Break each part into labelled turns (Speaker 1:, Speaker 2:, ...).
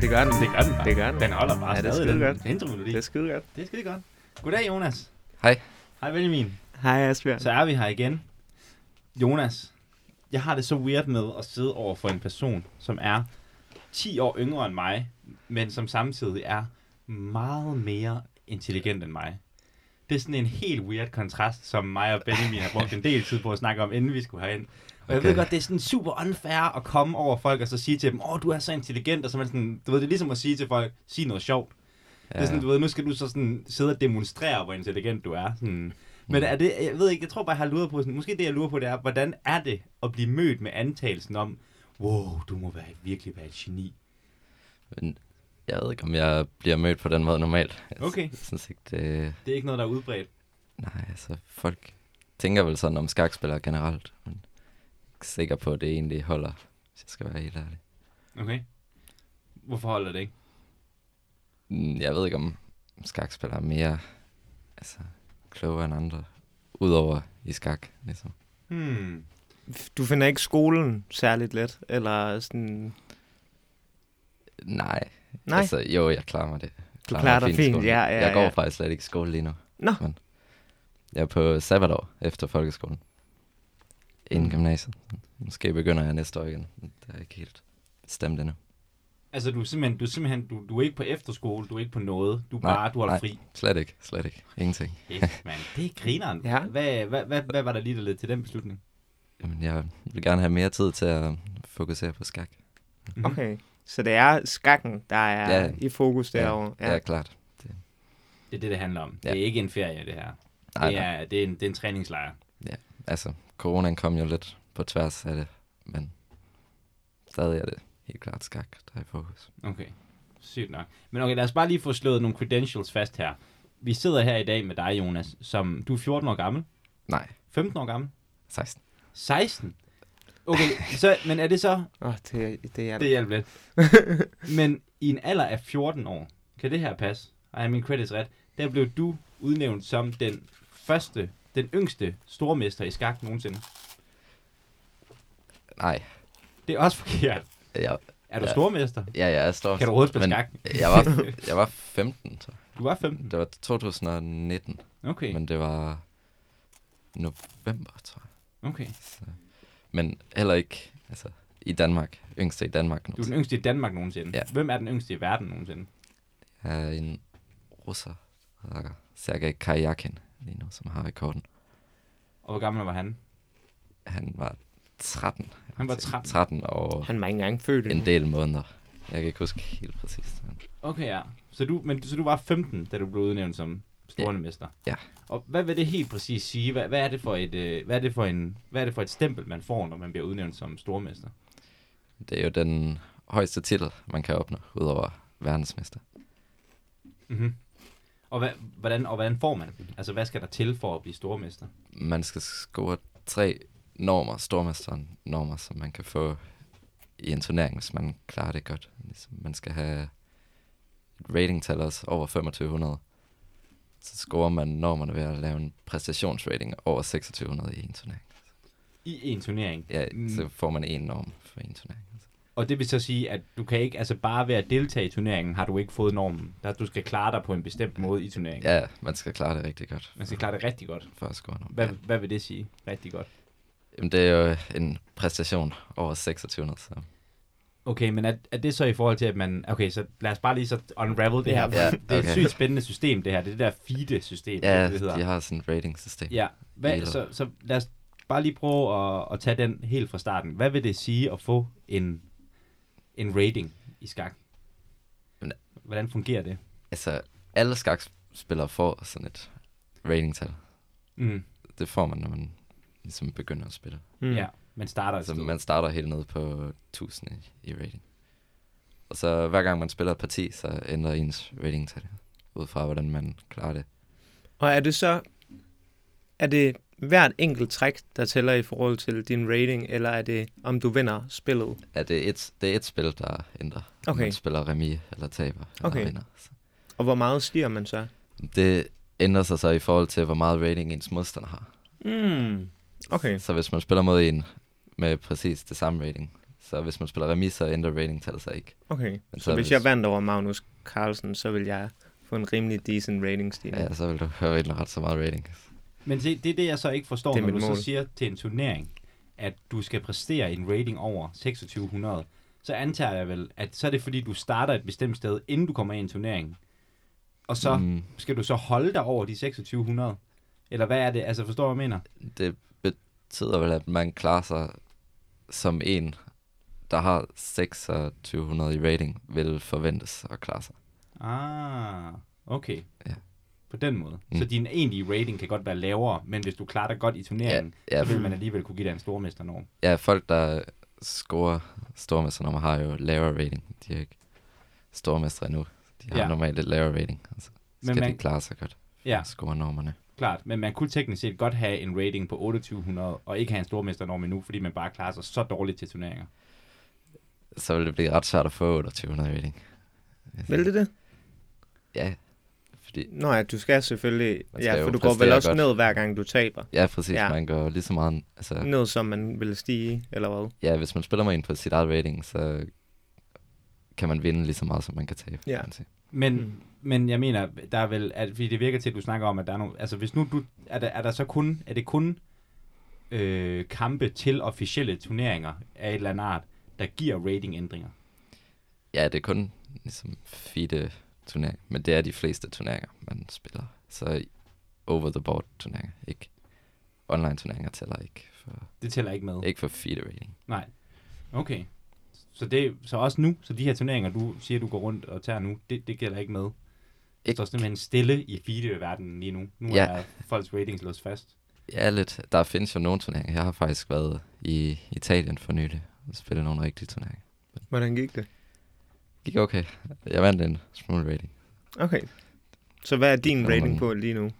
Speaker 1: det gør den.
Speaker 2: Det gør den bare.
Speaker 1: Det gør den.
Speaker 2: Den holder bare
Speaker 1: Ja, det er
Speaker 2: stadig,
Speaker 1: skide
Speaker 2: den
Speaker 1: godt.
Speaker 2: intromelodi.
Speaker 1: Det er skide godt.
Speaker 2: Det er skide godt. Goddag, Jonas.
Speaker 3: Hej.
Speaker 2: Hej, Benjamin.
Speaker 1: Hej Asbjørn.
Speaker 2: Så er vi her igen. Jonas, jeg har det så weird med at sidde over for en person, som er 10 år yngre end mig, men som samtidig er meget mere intelligent end mig. Det er sådan en helt weird kontrast, som mig og Benjamin har brugt en del tid på at snakke om, inden vi skulle herind. Og jeg ved
Speaker 3: Okay.
Speaker 2: godt, det er sådan super unfair at komme over folk og så sige til dem, åh, du er så intelligent, og så er man sådan, du ved, det er ligesom at sige til folk, sig noget sjovt. Ja. Det er sådan, du ved, nu skal du så sådan sidde og demonstrere, hvor intelligent du er. Sådan. Men er det, jeg ved ikke, jeg tror bare, jeg har luret på, sådan, måske det, jeg lurer på, det er, hvordan er det at blive mødt med antagelsen om, wow, du må være, virkelig være et geni.
Speaker 3: Men jeg ved ikke, om jeg bliver mødt på den måde normalt. Jeg
Speaker 2: Okay.
Speaker 3: Jeg synes ikke, det...
Speaker 2: Det er ikke noget, der er udbredt.
Speaker 3: Nej, altså folk tænker vel sådan om skakspillere generelt. Men jeg er ikke sikker på, at det egentlig holder, hvis jeg skal være helt ærlig.
Speaker 2: Okay. Hvorfor holder det ikke?
Speaker 3: Mm, Jeg ved ikke, om skakspillere er mere altså, klogere end andre. Udover i skak, ligesom.
Speaker 2: Hmm.
Speaker 1: Du finder ikke skolen særligt let, eller sådan...
Speaker 3: Nej.
Speaker 1: Nej,
Speaker 3: Altså, jo, jeg klarer mig det. Jeg
Speaker 1: du
Speaker 3: mig
Speaker 1: klarer dig
Speaker 3: i
Speaker 1: fint.
Speaker 3: skolen.
Speaker 1: Ja, ja,
Speaker 3: jeg går
Speaker 1: ja.
Speaker 3: faktisk slet ikke i skole lige nu.
Speaker 1: Nå.
Speaker 3: Men jeg er på sabbatår efter folkeskolen.
Speaker 2: Mm.
Speaker 3: Inden gymnasiet. Måske begynder jeg næste år igen. men Det er ikke helt bestemt endnu.
Speaker 2: Altså, du er simpelthen, du er, simpelthen du, du er ikke på efterskole, du er ikke på noget, du er
Speaker 3: Nej,
Speaker 2: bare, du holder
Speaker 3: nej.
Speaker 2: fri.
Speaker 3: Slet ikke, slet ikke. Ingenting.
Speaker 2: Yes, man. Det er grineren.
Speaker 1: Ja.
Speaker 2: Hvad, hvad, hvad, hvad var der lige, der led til den beslutning?
Speaker 3: Jamen, jeg vil gerne have mere tid til at fokusere på skak.
Speaker 2: Mhm.
Speaker 1: Okay, så det er skakken, der er
Speaker 3: Ja.
Speaker 1: i fokus derovre.
Speaker 3: ja. ja klart.
Speaker 2: Det er det, det handler om.
Speaker 3: Ja.
Speaker 2: Det er ikke en ferie, det her.
Speaker 3: Nej,
Speaker 2: det,
Speaker 3: nej.
Speaker 2: er, det, er en, det er en træningslejr.
Speaker 3: Altså, coronaen kom jo lidt på tværs af det, men stadig er det helt klart skak, der er i fokus.
Speaker 2: Okay, sygt nok. Men okay, lad os bare lige få slået nogle credentials fast her. Vi sidder her i dag med dig, Jonas, som du er 14 år gammel,
Speaker 3: Nej,
Speaker 2: 15 år gammel,
Speaker 3: 16.
Speaker 2: 16. Okay, så, men er det så...
Speaker 1: Åh, det, det er
Speaker 2: Det
Speaker 1: det.
Speaker 2: hjælper lidt. Men i en alder af 14 år, kan det her passe? Ej, min credits ret. Der blev du udnævnt som den første, den yngste stormester i skak nogensinde.
Speaker 3: Nej,
Speaker 2: Det er også forkert.
Speaker 3: jeg,
Speaker 2: Er du
Speaker 3: Ja.
Speaker 2: stormester?
Speaker 3: ja, jeg er stor.
Speaker 2: Kan du overhovedet spille
Speaker 3: men
Speaker 2: skak?
Speaker 3: Jeg var, jeg var 15, tror jeg.
Speaker 2: Du var 15.
Speaker 3: Det var 2019.
Speaker 2: Okay,
Speaker 3: Men det var november, tror jeg.
Speaker 2: okay.
Speaker 3: Så. Men heller ikke altså, i Danmark. Yngste i Danmark nu.
Speaker 2: Du er den yngste i Danmark nogensinde.
Speaker 3: Ja.
Speaker 2: Hvem er den yngste i verden nogensinde?
Speaker 3: Jeg er en russer, der hedder Sergej Kajakin lige nu, som har rekorden.
Speaker 2: Og hvor gammel var han?
Speaker 3: Han var 13.
Speaker 2: Han var 13.
Speaker 3: 13 og
Speaker 1: Han var ikke engang født endnu.
Speaker 3: en del måneder. Jeg kan ikke huske helt præcist. Men
Speaker 2: Okay, ja. Så du, men, så du var 15, da du blev udnævnt som stormester?
Speaker 3: Ja.
Speaker 2: Og hvad vil det helt præcis sige? Hvad, hvad, er det for et, øh, hvad, er det for en, hvad er det for et stempel, man får, når man bliver udnævnt som stormester?
Speaker 3: det er jo den højeste titel, man kan opnå, udover verdensmester.
Speaker 2: Mm-hmm. Og, hvad, hvordan, og hvordan får man den? Altså, hvad skal der til for at blive stormester?
Speaker 3: man skal score tre normer, stormesteren normer, som man kan få i en turnering, hvis man klarer det godt. Ligesom, man skal have et ratingtal også over 2500. Så scorer man normerne ved at lave en præstationsrating over 2600 i en turnering.
Speaker 2: I en turnering.
Speaker 3: Ja,
Speaker 2: Mm.
Speaker 3: mm. så får man en norm for en turnering.
Speaker 2: Og det vil så sige, at du kan ikke, altså bare ved at deltage i turneringen, har du ikke fået normen. Der, du skal klare dig på en bestemt måde i turneringen.
Speaker 3: Ja, man skal klare det rigtig godt
Speaker 2: Man skal klare det rigtig godt.
Speaker 3: for at score norm.
Speaker 2: Hvad,
Speaker 3: Ja.
Speaker 2: hvad vil det sige? Rigtig godt.
Speaker 3: Jamen, det er jo en præstation over 2600, så
Speaker 2: Okay, men er, er det så i forhold til, at man... Okay, så lad os bare lige så unravel det her.
Speaker 3: Ja,
Speaker 2: Yeah, Det er et
Speaker 3: okay.
Speaker 2: sygt spændende system, det her. Det er det der FIDE-system,
Speaker 3: ja,
Speaker 2: det hedder.
Speaker 3: de har sådan et rating-system.
Speaker 2: Ja, hvad,
Speaker 3: Eller-
Speaker 2: så, så lad os bare lige prøve at, at tage den helt fra starten. Hvad vil det sige at få en, en rating i skak?
Speaker 3: Jamen,
Speaker 2: Hvordan fungerer det?
Speaker 3: Altså, alle skakspillere får sådan et ratingtal.
Speaker 2: Mm,
Speaker 3: Det får man, når man ligesom begynder at spille.
Speaker 1: Mm.
Speaker 2: Ja, man starter
Speaker 3: Altså,
Speaker 2: altså, man...
Speaker 3: man starter helt ned på 1000 i, i rating. Og så hver gang man spiller et parti, så ændrer ens ratingtal ud fra, hvordan man klarer det.
Speaker 1: Og er det så... Er det hvert enkelt træk, der tæller i forhold til din rating, eller er det, om du vinder spillet?
Speaker 3: Er det, et, det er et spil, der ændrer. om
Speaker 1: Okay.
Speaker 3: Man
Speaker 2: altså-
Speaker 3: spiller remis, eller taber, eller
Speaker 1: Okay.
Speaker 3: vinder. Så
Speaker 1: Og hvor meget stiger man så?
Speaker 3: det ændrer sig så i forhold til, hvor meget rating ens modstander har.
Speaker 1: Mm. Okay.
Speaker 3: Så hvis man spiller mod en med præcis det samme rating, Så hvis man spiller remis, så ændrer ratingtallet sig ikke.
Speaker 1: Okay,
Speaker 3: Men
Speaker 1: så hvis jeg vandt over Magnus Carlsen, så vil jeg få en rimelig decent ratingstigning.
Speaker 3: Ja, så vil du have rigtig ret så meget rating.
Speaker 2: Men se, det er det, jeg så ikke forstår,
Speaker 1: Det er
Speaker 2: når du
Speaker 1: mit
Speaker 2: mål.
Speaker 1: mål.
Speaker 2: så siger til en turnering, at du skal præstere en rating over 2600, så antager jeg vel, at så er det fordi, du starter et bestemt sted, inden du kommer ind i en turnering. Og så mm.
Speaker 3: Mm,
Speaker 2: skal du så holde dig over de 2600. Eller hvad er det? Altså, forstår du, hvad jeg mener?
Speaker 3: det betyder vel, at man klarer sig som en, der har 2600 i rating, vil forventes at klare sig.
Speaker 2: Ah, okay.
Speaker 3: Ja.
Speaker 2: På den måde. Mm.
Speaker 3: Mm.
Speaker 2: Så din egentlige rating kan godt være lavere, men hvis du klarer dig godt i turneringen, ja,
Speaker 3: ja.
Speaker 2: ja, så vil man alligevel kunne give dig en stormesternorm.
Speaker 3: Ja, folk, der scorer stormesternummer, har jo lavere rating. De er ikke stormestre endnu. De har
Speaker 2: Ja.
Speaker 3: ja. normalt lidt lavere rating. Altså,
Speaker 2: Men
Speaker 3: skal man...
Speaker 2: man-
Speaker 3: de klare sig godt?
Speaker 2: Ja.
Speaker 3: Score normerne.
Speaker 2: Klart, men man kunne teknisk set godt have en rating på 2800 og ikke have en stormesternorm endnu, fordi man bare klarer sig så dårligt til turneringer.
Speaker 3: Så vil det blive ret svært at få 2800 i rating.
Speaker 1: Vil det det?
Speaker 3: Ja, fordi...
Speaker 1: Nå ja, du skal selvfølgelig...
Speaker 3: Man skal
Speaker 1: ja,
Speaker 3: jo
Speaker 1: for du går vel
Speaker 3: præstere
Speaker 1: også
Speaker 3: godt.
Speaker 1: godt. ned, hver gang du taber.
Speaker 3: Ja, præcis.
Speaker 1: Ja.
Speaker 3: Ja. Man går lige så meget... Altså,
Speaker 1: Ja. Ned, som man vil stige, eller hvad?
Speaker 3: ja, hvis man spiller med en på sit eget rating, så kan man vinde lige så meget, som man kan tabe.
Speaker 1: Ja.
Speaker 3: kan man sige.
Speaker 2: Men, mm.
Speaker 1: Mm.
Speaker 2: men jeg mener, der er vel, at, fordi det virker til, at du snakker om, at der er nogle, altså hvis nu du, er der, er der så kun, er det kun øh, kampe til officielle turneringer af et eller andet art, der giver ratingændringer?
Speaker 3: ja, det er kun ligesom fide turneringer, men det er de fleste turneringer, man spiller. Så over the board turneringer, ikke online turneringer tæller ikke for,
Speaker 2: Det tæller ikke med.
Speaker 3: ikke for fide rating.
Speaker 2: Nej. Okay. Så, det, så også nu, så de her turneringer, du siger, du går rundt og tager nu, det, det gælder ikke med. Det
Speaker 3: Ikke.
Speaker 2: står simpelthen stille i feed-verdenen lige nu. Nu ja.
Speaker 3: Ja.
Speaker 2: er folks ratings låst fast.
Speaker 3: Ja, lidt. Der findes jo nogle turneringer. Jeg har faktisk været i Italien for nylig og spillet nogle rigtige turneringer.
Speaker 1: Hvordan gik det?
Speaker 3: Gik okay. Jeg vandt en smule rating.
Speaker 1: Okay. Så hvad er din
Speaker 3: kommer
Speaker 1: rating
Speaker 3: den.
Speaker 1: på lige nu?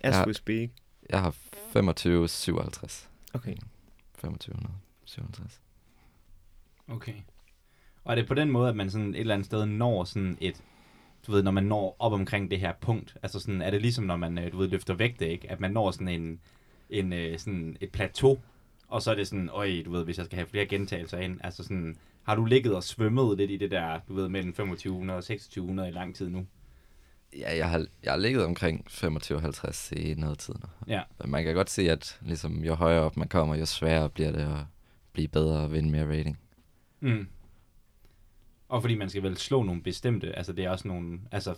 Speaker 1: As
Speaker 3: Ja.
Speaker 1: we speak.
Speaker 3: Jeg har 25, 57.
Speaker 1: Okay.
Speaker 3: 2500, 57.
Speaker 2: Okay. Og er det på den måde, at man sådan et eller andet sted når sådan et, du ved, når man når op omkring det her punkt, altså sådan, er det ligesom, når man, øh, du ved, løfter vægte, ikke? At man når sådan en, en øh, sådan et plateau, og så er det sådan, øj, du ved, hvis jeg skal have flere gentagelser ind, altså sådan, har du ligget og svømmet lidt i det der, du ved, mellem 2500 og 2600 i lang tid nu?
Speaker 3: Ja, jeg har, jeg har ligget omkring 25-50 i noget tid nu.
Speaker 2: Ja.
Speaker 3: Men man kan godt se, at ligesom, jo højere op man kommer, jo sværere bliver det at blive bedre og vinde mere rating.
Speaker 2: Mm. Og fordi man skal vel slå nogle bestemte, altså det er også nogle, altså,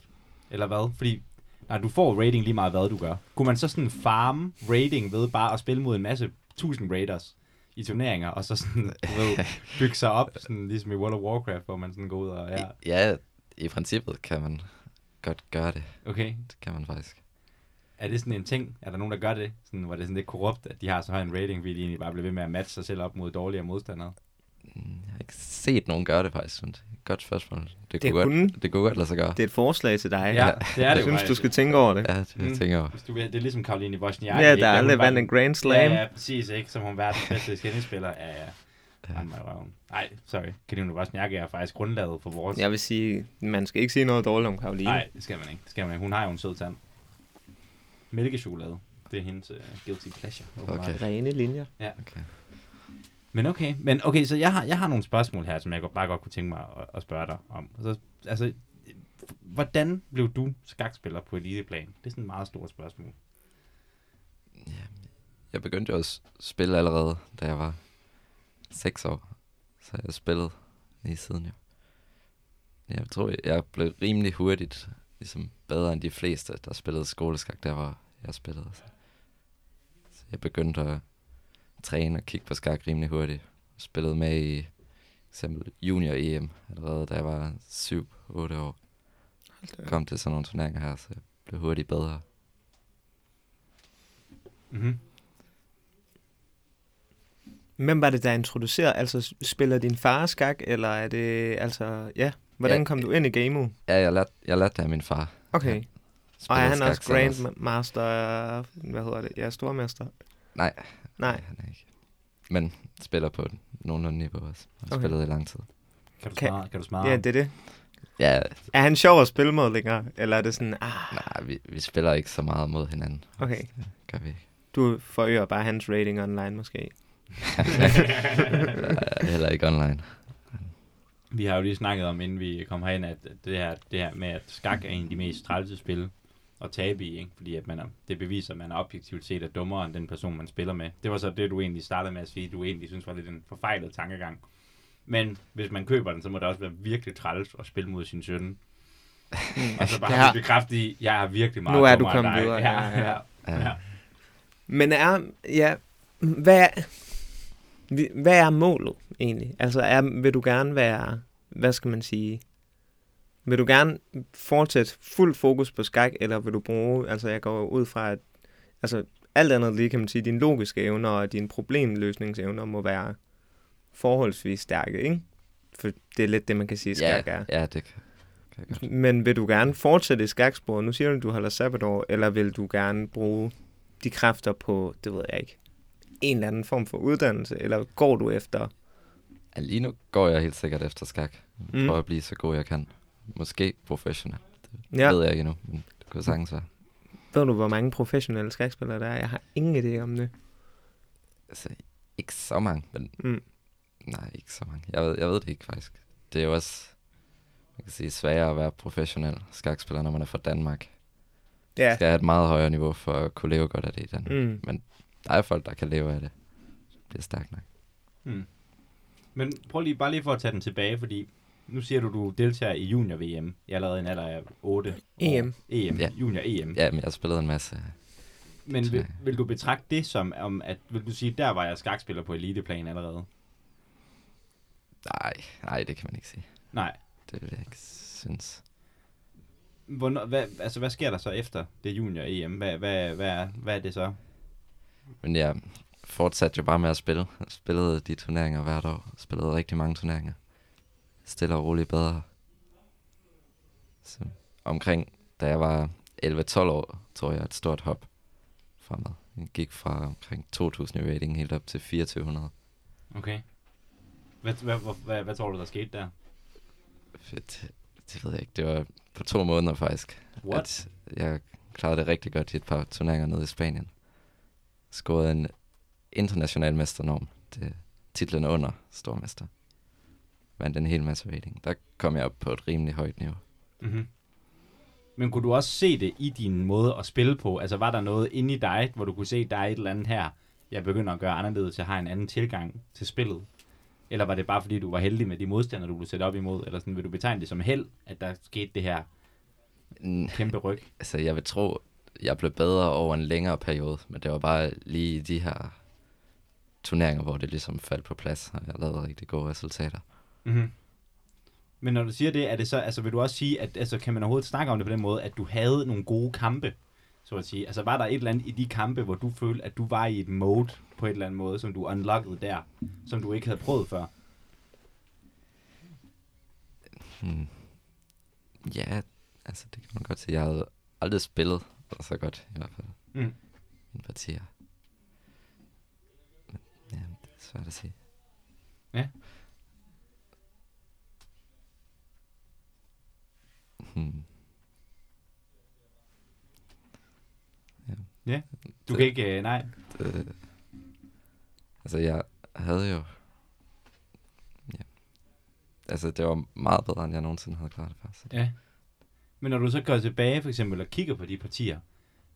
Speaker 2: eller hvad? Fordi, nej, du får rating lige meget, hvad du gør. Kunne man så sådan farme rating ved bare at spille mod en masse tusind raiders i turneringer, og så sådan, du ved, bygge sig op, sådan ligesom i World of Warcraft, hvor man sådan går ud og, ja,
Speaker 3: I, ja, i princippet kan man godt gøre det.
Speaker 2: okay.
Speaker 3: Det kan man faktisk.
Speaker 2: Er det sådan en ting? Er der nogen, der gør det? Sådan, var det sådan lidt korrupt, at de har så høj en rating, fordi de egentlig bare bliver ved med at matche sig selv op mod dårligere modstandere?
Speaker 3: Mm, Jeg har ikke set nogen gøre det faktisk, men det er et godt spørgsmål. Det,
Speaker 1: Det
Speaker 3: kunne,
Speaker 1: kunne.
Speaker 3: Godt, det kunne godt lade sig gøre.
Speaker 1: Det er et forslag til dig.
Speaker 2: Ja, det er det
Speaker 1: Jeg
Speaker 2: jo
Speaker 1: synes, du
Speaker 2: faktisk.
Speaker 1: skal tænke over det.
Speaker 3: Ja, det
Speaker 2: Mm.
Speaker 3: mm. tænker jeg over.
Speaker 2: Hvis du vil, det er ligesom Karoline Wozniacki.
Speaker 1: Ja,
Speaker 2: ikke?
Speaker 1: der er
Speaker 2: At hun
Speaker 1: aldrig
Speaker 2: bare-
Speaker 1: vandt en Grand Slam.
Speaker 2: Ja, ja, præcis, ikke? Som hun verdens bedste tennisspiller. Ja, ja. Han mig i røven. Nej, sorry. Karoline Wozniacki er faktisk grundlaget for vores...
Speaker 1: Jeg vil sige, man skal ikke sige noget dårligt om Karoline.
Speaker 2: Nej, det skal man ikke. Det skal man ikke. Hun har jo en sød tand. Mælkechokolade. Det er hendes uh, guilty pleasure. åbenbart.
Speaker 3: Okay.
Speaker 1: Rene linjer.
Speaker 3: Okay.
Speaker 2: Men okay, men okay, så jeg har, jeg har nogle spørgsmål her, som jeg godt- bare godt kunne tænke mig at, at spørge dig om. Så, altså, hvordan blev du skakspiller på eliteplan? Det er sådan et meget stort spørgsmål.
Speaker 3: Jeg begyndte jo at s- spille allerede, da jeg var 6 år. Så jeg har spillet lige siden jo. Jeg tror, jeg blev rimelig hurtigt ligesom bedre end de fleste, der spillede skoleskak, der var jeg spillede. Så, så jeg begyndte at træne og kigge på skak rimelig hurtigt. Spillede med i for eksempel junior EM allerede, da jeg var 7-8 år. Kom til sådan nogle turneringer her, så jeg blev hurtigt bedre.
Speaker 2: Mm-hmm.
Speaker 1: Hvem var det, der introducerede? Altså, spiller din far skak, eller er det... Altså, ja. Hvordan
Speaker 3: Ja.
Speaker 1: kom du ind i gamet?
Speaker 3: Ja, jeg lærte, jeg lærte det af min far.
Speaker 1: Okay. Og er
Speaker 3: Spillede
Speaker 1: han
Speaker 3: skak
Speaker 1: også
Speaker 3: selv
Speaker 1: Grandmaster... Hvad hedder det? Ja, stormester.
Speaker 3: Nej.
Speaker 1: Nej.
Speaker 3: han er ikke. Men spiller på et nogenlunde niveau også. Har
Speaker 1: Okay.
Speaker 3: okay. spillet i lang tid.
Speaker 2: Kan du
Speaker 1: Kan-
Speaker 2: smadre? Kan du
Speaker 3: Ah.
Speaker 2: smadre?
Speaker 1: Ja, det er det.
Speaker 3: Ja,
Speaker 1: Er han sjov at spille mod længere? Eller er det sådan, ah,
Speaker 3: nej, vi, vi spiller ikke så meget mod hinanden.
Speaker 1: okay.
Speaker 3: Gør vi ikke.
Speaker 1: Du forøger bare hans rating online måske.
Speaker 3: Heller ikke online.
Speaker 2: Vi har jo lige snakket om, inden vi kom herind, at det her, det her med, at skak er en af de mest trælse spil at tabe i, ikke? fordi at man er, det beviser, at man er objektivt set er dummere end den person, man spiller med. Det var så det, du egentlig startede med at sige, du egentlig synes var lidt en forfejlet tankegang. Men hvis man køber den, så må det også være virkelig træls at spille mod sin søn.
Speaker 3: Mm.
Speaker 2: Og så bare
Speaker 1: Altså, Det
Speaker 2: ja.
Speaker 1: har-
Speaker 2: bekræfte i, jeg er virkelig meget
Speaker 1: Nu er du
Speaker 2: dummere end
Speaker 1: kommet
Speaker 2: dig."
Speaker 1: videre,
Speaker 2: Ja,
Speaker 1: ja,
Speaker 2: ja,
Speaker 3: Ja.
Speaker 2: ja.
Speaker 1: Men er, ja, hvad, er- vi- hvad er målet egentlig? Altså, er, vil du gerne være, hvad skal man sige, vil du gerne fortsætte fuldt fokus på skak, eller vil du bruge, altså jeg går ud fra, at altså, alt andet lige kan man sige, dine logiske evner og dine problemløsningsevner må være forholdsvis stærke, ikke? For det er lidt det, man kan sige, skak er.
Speaker 3: ja, ja, det kan, kan jeg godt.
Speaker 1: Men vil du gerne fortsætte i skaksporet? Nu siger du, at du holder sabbatår, eller vil du gerne bruge de kræfter på, det ved jeg ikke, en eller anden form for uddannelse, eller går du efter?
Speaker 3: Ja, lige nu går jeg helt sikkert efter skak,
Speaker 1: Mm.
Speaker 3: for at blive så god jeg kan. Måske professionel, ja.
Speaker 1: Ja,
Speaker 3: ved jeg ikke endnu, men det kunne sagtens være.
Speaker 1: ved du, hvor mange professionelle skakspillere der er? Jeg har ingen idé om det.
Speaker 3: Altså, ikke så mange, men
Speaker 1: Mm.
Speaker 3: nej, ikke så mange. Jeg ved, jeg ved det ikke faktisk. Det er jo også, man kan sige, sværere at være professionel skakspiller, når man er fra Danmark.
Speaker 1: Ja,
Speaker 3: Ja. Skal have et meget højere niveau for at kunne leve godt af det i Danmark. Mm.
Speaker 1: mm.
Speaker 3: Der er folk, der kan leve af det. Det er stærkt nok.
Speaker 2: Men prøv lige, bare lige for at tage den tilbage, fordi nu siger du, du deltager i junior-VM. Jeg er allerede i en alder af 8
Speaker 1: EM.
Speaker 2: År. E EM,
Speaker 3: Ja.
Speaker 2: junior-EM.
Speaker 3: Ja, men jeg har spillet en masse.
Speaker 2: Men vil,
Speaker 3: turneringer.
Speaker 2: vil, du betragte det som, om at, vil du sige, der var jeg skakspiller på eliteplan allerede?
Speaker 3: Nej, nej, det kan man ikke sige.
Speaker 2: Nej.
Speaker 3: Det vil jeg ikke synes.
Speaker 2: Hvornår, hvad, altså, hvad sker der så efter det junior-EM? Hvad, hvad, hvad, er, hvad er det så?
Speaker 3: Men jeg fortsatte jo bare med at spille. Jeg spillede de turneringer hvert år. Jeg spillede rigtig mange turneringer. Stille og roligt bedre. Så omkring, da jeg var 11-12 år, tror jeg, et stort hop fremad. Jeg gik fra omkring 2.000 i rating helt op til 2.400.
Speaker 2: Okay. Hvad, hvad, hvad, hvad, hvad tror du, der skete der?
Speaker 3: Det, det ved jeg ikke. Det var på to måneder faktisk.
Speaker 2: What?
Speaker 3: At jeg klarede det rigtig godt i et par turneringer nede i Spanien. Skårede en international mesternorm. Det er titlen under stormester. Vandt en hel masse rating. Der kom jeg op på et rimelig højt niveau.
Speaker 2: Mm-hmm. Men kunne du også se det i din måde at spille på? Altså var der noget inde i dig, hvor du kunne se, der er et eller andet her, jeg begynder at gøre anderledes, jeg har en anden tilgang til spillet? Eller var det bare fordi, du var heldig med de modstandere, du blev sat op imod? Eller sådan, vil du betegne det som held, at der skete det her
Speaker 3: Mm,
Speaker 2: kæmpe ryg?
Speaker 3: Altså, jeg vil tro, jeg blev bedre over en længere periode, men det var bare lige i de her turneringer, hvor det ligesom faldt på plads, og jeg lavede rigtig gode resultater.
Speaker 2: Mm-hmm. Men når du siger det, er det så, altså vil du også sige, at altså, kan man overhovedet snakke om det på den måde, at du havde nogle gode kampe, så at sige? Altså var der et eller andet i de kampe, hvor du følte, at du var i et mode på et eller andet måde, som du unlockede der, som du ikke havde prøvet før?
Speaker 3: Hmm. Ja, altså det kan man godt sige. Jeg havde aldrig spillet så godt, i hvert fald.
Speaker 2: Mm.
Speaker 3: Mine partier. Men, ja, det er svært at sige.
Speaker 2: Ja.
Speaker 3: Hmm.
Speaker 2: Du kan ikke, øh, nej.
Speaker 3: Det, altså, jeg havde jo... Ja. Altså, det var meget bedre, end jeg nogensinde havde klaret det før. Så det,
Speaker 2: Ja. Men når du så går tilbage for eksempel og kigger på de partier,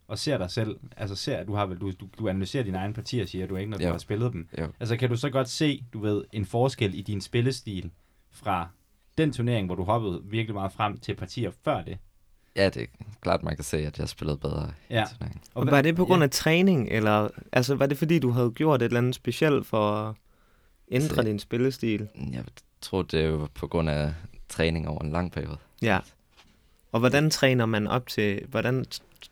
Speaker 2: og ser dig selv, altså ser, at du har vel, du, du, du analyserer dine egne partier, siger du ikke, når du
Speaker 3: Jo.
Speaker 2: har spillet dem.
Speaker 3: Jo.
Speaker 2: Altså kan du så godt se, du ved, en forskel i din spillestil fra den turnering, hvor du hoppede virkelig meget frem til partier før det.
Speaker 3: ja, det er klart, man kan se, at jeg spillede bedre i
Speaker 2: Ja.
Speaker 3: turneringen.
Speaker 1: Og var
Speaker 2: hvad-
Speaker 1: det på grund af træning, eller altså, var det fordi, du havde gjort et eller andet specielt for at ændre
Speaker 3: Se.
Speaker 1: din spillestil?
Speaker 3: Jeg tror, det er jo på grund af træning over en lang periode.
Speaker 1: Ja. Og hvordan træner man op til, hvordan,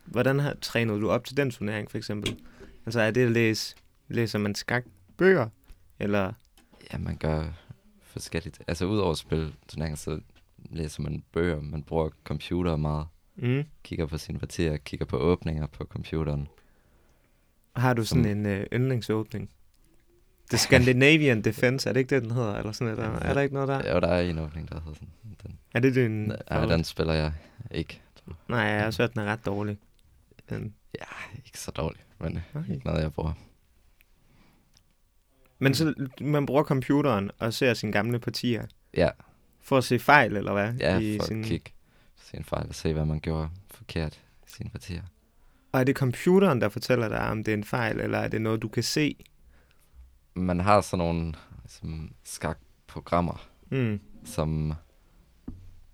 Speaker 1: hvordan har, trænede du op til den turnering for eksempel? Altså er det at læse, læser man skakbøger, eller
Speaker 3: Ja, man gør forskelligt. Altså udover at spille turneringer, så læser man bøger, man bruger computer meget,
Speaker 1: mm,
Speaker 3: kigger på sine partier, kigger på åbninger på computeren.
Speaker 1: har du sådan en øh, yndlingsåbning? The Scandinavian Defense, er det ikke det, den hedder? Eller sådan noget, der? Er der ikke noget der?
Speaker 3: Ja. Jo, der er en åbning, der hedder sådan. Den,
Speaker 1: Er det din?
Speaker 3: ja, den spiller jeg ikke.
Speaker 1: Nej, jeg har også hørt, den er ret dårlig. Men,
Speaker 3: Ikke så dårligt, men
Speaker 1: okay.
Speaker 3: ikke noget, jeg bruger.
Speaker 1: Men så, man bruger computeren og ser sine gamle partier.
Speaker 3: Ja,
Speaker 1: For at se fejl, eller hvad?
Speaker 3: Ja, for at kigge på sin fejl og se, hvad man gjorde forkert i sine partier.
Speaker 1: Og er det computeren, der fortæller dig, om det er en fejl, eller er det noget, du kan se?
Speaker 3: Man har sådan nogle ligesom, skakprogrammer,
Speaker 1: Mm.
Speaker 3: som,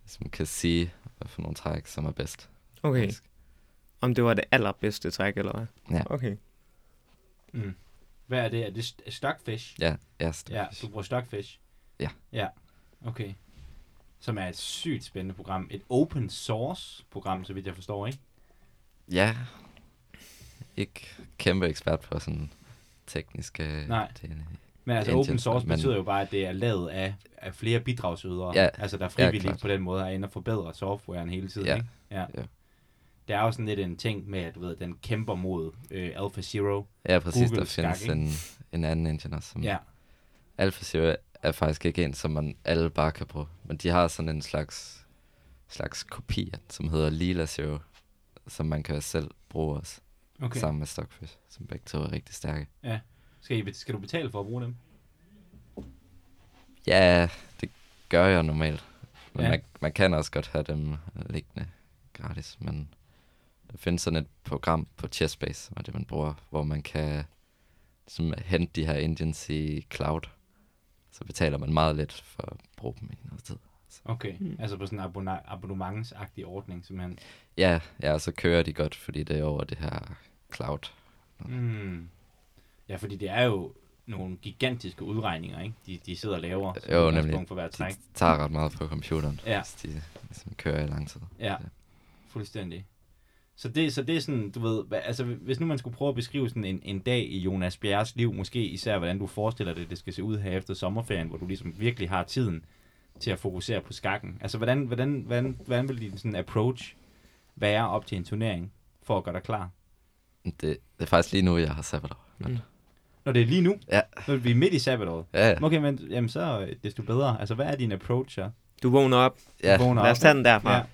Speaker 3: som kan sige, hvad for nogle træk, som er bedst.
Speaker 1: Okay.
Speaker 3: faktisk.
Speaker 1: Om det var det allerbedste træk, eller hvad?
Speaker 3: Ja.
Speaker 1: Okay.
Speaker 2: Mm. Hvad er det? Er det st- stockfish?
Speaker 3: Ja, ja, st-
Speaker 2: Ja, du bruger stockfish?
Speaker 3: Ja.
Speaker 2: Ja, okay. Som er et sygt spændende program. Et open source program, så vidt jeg forstår, ikke?
Speaker 3: ja. Ikke kæmpe ekspert på sådan tekniske
Speaker 2: Nej.
Speaker 3: dele.
Speaker 2: Men altså
Speaker 3: Engine,
Speaker 2: open source
Speaker 3: men-
Speaker 2: betyder jo bare, at det er lavet af, af flere bidragsydere.
Speaker 3: Ja,
Speaker 2: altså der er
Speaker 3: ja,
Speaker 2: frivillige
Speaker 3: klart.
Speaker 2: på den måde er inde og forbedre softwaren hele tiden.
Speaker 3: Ja,
Speaker 2: Ikke? Ja.
Speaker 3: ja.
Speaker 2: Det er jo sådan lidt en ting med, at du ved, den kæmper mod øh, AlphaZero.
Speaker 3: Ja, præcis.
Speaker 2: Google
Speaker 3: der findes
Speaker 2: skak,
Speaker 3: en, en anden engine også. Som
Speaker 2: Ja.
Speaker 3: AlphaZero er faktisk ikke en, som man alle bare kan bruge. Men de har sådan en slags, slags kopi, som hedder Lila Zero, som man kan selv bruge også.
Speaker 2: Okay.
Speaker 3: Okay. Sammen med Stockfish, som begge to er rigtig stærke.
Speaker 2: Skal, I, skal du betale for at bruge dem?
Speaker 3: Ja, det gør jeg normalt. Men
Speaker 2: Ja.
Speaker 3: ja. man, man kan også godt have dem liggende gratis. Men der findes sådan et program på Chessbase, som er det, man bruger, hvor man kan som hente de her engines i cloud. Så betaler man meget lidt for at bruge dem i noget tid.
Speaker 2: Okay. Mm. Altså på sådan en abonne- abonnementsagtig ordning, simpelthen.
Speaker 3: Ja, ja, og så kører de godt, fordi det er over det her cloud.
Speaker 2: Mm. Ja, fordi det er jo nogle gigantiske udregninger, ikke? De, de sidder og laver som
Speaker 3: Jo,
Speaker 2: udgangspunkt
Speaker 3: nemlig.
Speaker 2: for hver
Speaker 3: De
Speaker 2: træk.
Speaker 3: tager ret meget på computeren,
Speaker 2: Ja.
Speaker 3: hvis de ligesom, kører i lang tid.
Speaker 2: Ja, fuldstændig. Så det, så det er sådan, du ved, hva- altså hvis nu man skulle prøve at beskrive sådan en, en dag i Jonas Bjerres liv, måske især hvordan du forestiller dig, det skal se ud her efter sommerferien, hvor du ligesom virkelig har tiden til at fokusere på skakken. Altså hvordan, hvordan, hvordan, hvordan vil din sådan approach være op til en turnering, for at gøre dig klar?
Speaker 3: Det, det er faktisk lige nu, jeg har sabbatår. Men,
Speaker 1: Mm.
Speaker 3: mm.
Speaker 2: Når det er lige nu,
Speaker 3: Ja.
Speaker 2: når vi er midt i sabbatåret.
Speaker 3: Ja, ja.
Speaker 2: Okay, men jamen, så øh, desto bedre. Altså hvad er din approach her?
Speaker 1: Du vågner op.
Speaker 3: ja.
Speaker 2: vågner
Speaker 1: Lad os tage den derfra.
Speaker 2: Ja.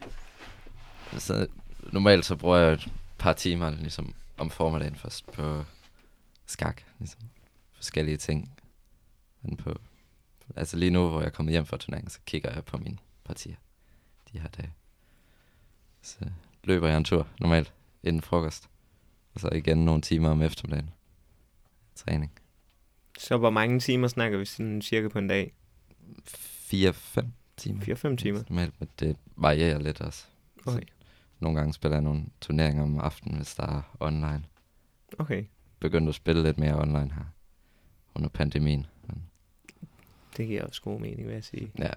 Speaker 1: Ja.
Speaker 3: Så normalt så bruger jeg et par timer ligesom, om formiddagen først på skak. Ligesom. Forskellige ting. Men på, altså lige nu, hvor jeg er kommet hjem fra turneringen, så kigger jeg på mine partier de her dage. Så løber jeg en tur normalt inden frokost. Og så igen nogle timer om eftermiddagen. Træning.
Speaker 1: Så hvor mange timer snakker vi sådan cirka på en dag?
Speaker 3: 4-5 timer.
Speaker 1: 4-5 timer.
Speaker 3: Normalt, men det varierer lidt også.
Speaker 1: Okay.
Speaker 3: Nogle gange spiller jeg nogle turneringer om aftenen, hvis der er online.
Speaker 1: Okay.
Speaker 3: begyndt at spille lidt mere online her under pandemien. Men,
Speaker 1: Det giver også god mening, vil jeg sige.
Speaker 3: ja.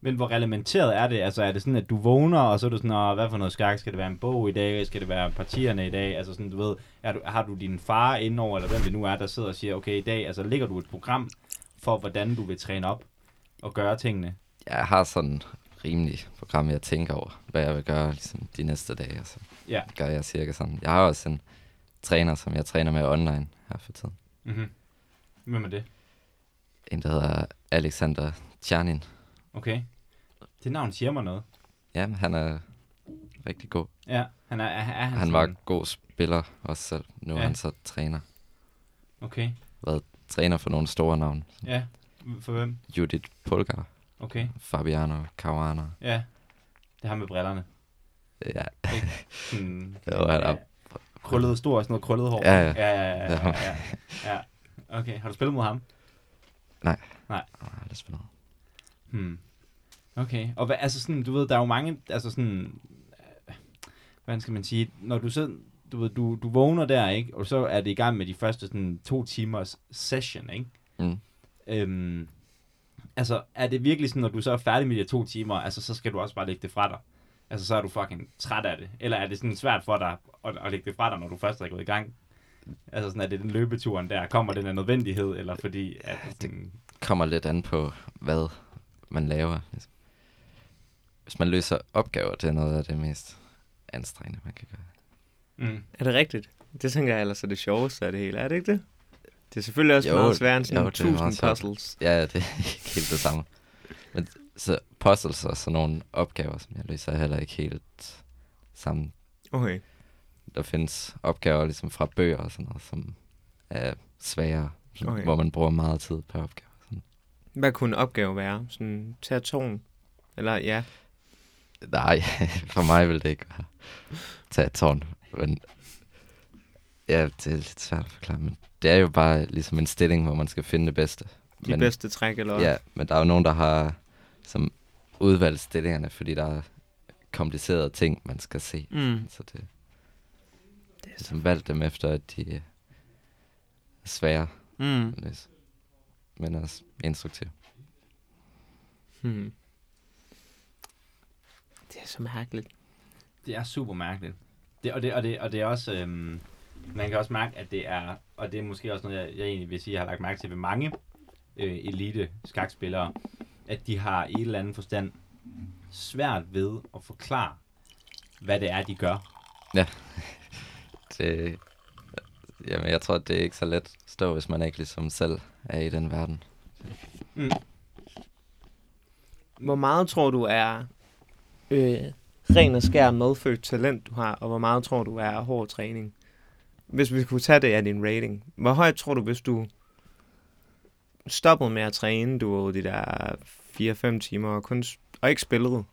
Speaker 2: Men hvor reglementeret er det? Altså er det sådan, at du vågner, og så er du sådan, "Åh, hvad for noget skak? Skal det være en bog i dag? Skal det være partierne i dag? Altså sådan, du ved, er du, har du din far indover, eller hvem det nu er, der sidder og siger, okay, i dag, altså ligger du et program for, hvordan du vil træne op og gøre tingene?
Speaker 3: Jeg har sådan rimelig program, jeg tænker over, hvad jeg vil gøre ligesom, de næste dage. Og så
Speaker 2: Ja.
Speaker 3: gør jeg cirka sådan. Jeg har også en træner, som jeg træner med online her for tiden.
Speaker 2: Mm-hmm. Hvem er det?
Speaker 3: En, der hedder Alexander Tjernin.
Speaker 2: Okay. Det navn siger mig noget.
Speaker 3: Ja, men han er rigtig god.
Speaker 2: Ja, han er, er, er han,
Speaker 3: Han var
Speaker 2: sådan,
Speaker 3: god spiller også selv. Nu er
Speaker 2: Ja.
Speaker 3: han så træner.
Speaker 2: Okay,
Speaker 3: Været træner for nogle store navne.
Speaker 2: ja. For hvem?
Speaker 3: Judith Polgar,
Speaker 2: Okay,
Speaker 3: Fabiano Caruana.
Speaker 2: ja. Det er ham med brillerne.
Speaker 3: Ja,
Speaker 2: Sådan,
Speaker 3: Jo, han er-
Speaker 2: Krøllet stor og sådan noget krøllet hår.
Speaker 3: Ja, ja.
Speaker 2: ja, ja, ja, ja, ja. Okay, har du spillet mod ham?
Speaker 3: jeg har aldrig spillet.
Speaker 2: Hmm. Okay, og hvad, altså sådan, du ved, der er jo mange, altså sådan, øh, hvordan skal man sige, når du så, du ved, du, du vågner der, ikke, og så er det i gang med de første sådan to timers session, ikke?
Speaker 3: Mm.
Speaker 2: Øhm, altså, er det virkelig sådan, når du så er færdig med de her to timer, altså, så skal du også bare lægge det fra dig? Altså, så er du fucking træt af det. Eller er det sådan svært for dig at, at lægge det fra dig, når du først er gået i gang? Altså, sådan, er det den løbeturen der? Kommer den af nødvendighed, eller fordi... At, sådan,
Speaker 3: kommer lidt an på, hvad man laver. ligesom. Hvis man løser opgaver, det er noget af det mest anstrengende, man kan gøre.
Speaker 2: mm,
Speaker 1: Er det rigtigt? Det tænker jeg ellers er det sjoveste af det hele. Er det ikke det? Det er selvfølgelig også
Speaker 3: Jo,
Speaker 1: jo, meget sværere end sådan
Speaker 3: jo,
Speaker 1: jo,
Speaker 3: det er meget
Speaker 1: 1000
Speaker 3: svært.
Speaker 1: puzzles.
Speaker 3: Ja, det er ikke helt det samme. Men så puzzles og sådan nogle opgaver, som jeg løser, er heller ikke helt sammen.
Speaker 1: Okay.
Speaker 3: Der findes opgaver ligesom fra bøger og sådan noget, som er sværere, som,
Speaker 1: Okay.
Speaker 3: hvor man bruger meget tid på opgaver. Sådan.
Speaker 1: Hvad kunne en opgave være? Sådan, tage togen? Eller ja,
Speaker 3: Nej, for mig vil det ikke være tage et tårn, men ja, det er lidt svært at forklare, men det er jo bare ligesom en stilling, hvor man skal finde det bedste.
Speaker 1: de men, bedste træk, eller
Speaker 3: Ja, men der er jo nogen, der har som udvalgt stillingerne, fordi der er komplicerede ting, man skal se.
Speaker 1: Mm.
Speaker 3: Så det, det er som valgt dem efter, at de er svære
Speaker 1: Mm.
Speaker 3: at læse, men også instruktive.
Speaker 1: Hmm. Det er så mærkeligt.
Speaker 2: Det er super mærkeligt. Det, og, det, og, det, og det er også... Øhm, man kan også mærke, at det er... Og det er måske også noget, jeg, jeg egentlig vil sige, jeg har lagt mærke til ved mange øh, elite skakspillere, at de har i et eller andet forstand svært ved at forklare, hvad det er, de gør.
Speaker 3: Det, jamen, jeg tror, det er ikke så let at stå, hvis man ikke ligesom selv er i den verden.
Speaker 1: Hvor meget tror du er øh, ren og skær medfødt talent, du har, og hvor meget tror du er hård træning? Hvis vi kunne tage det af din rating, hvor højt tror du, hvis du stoppede med at træne, du ved, de der 4-5 timer, og, kun, s- og ikke spillede?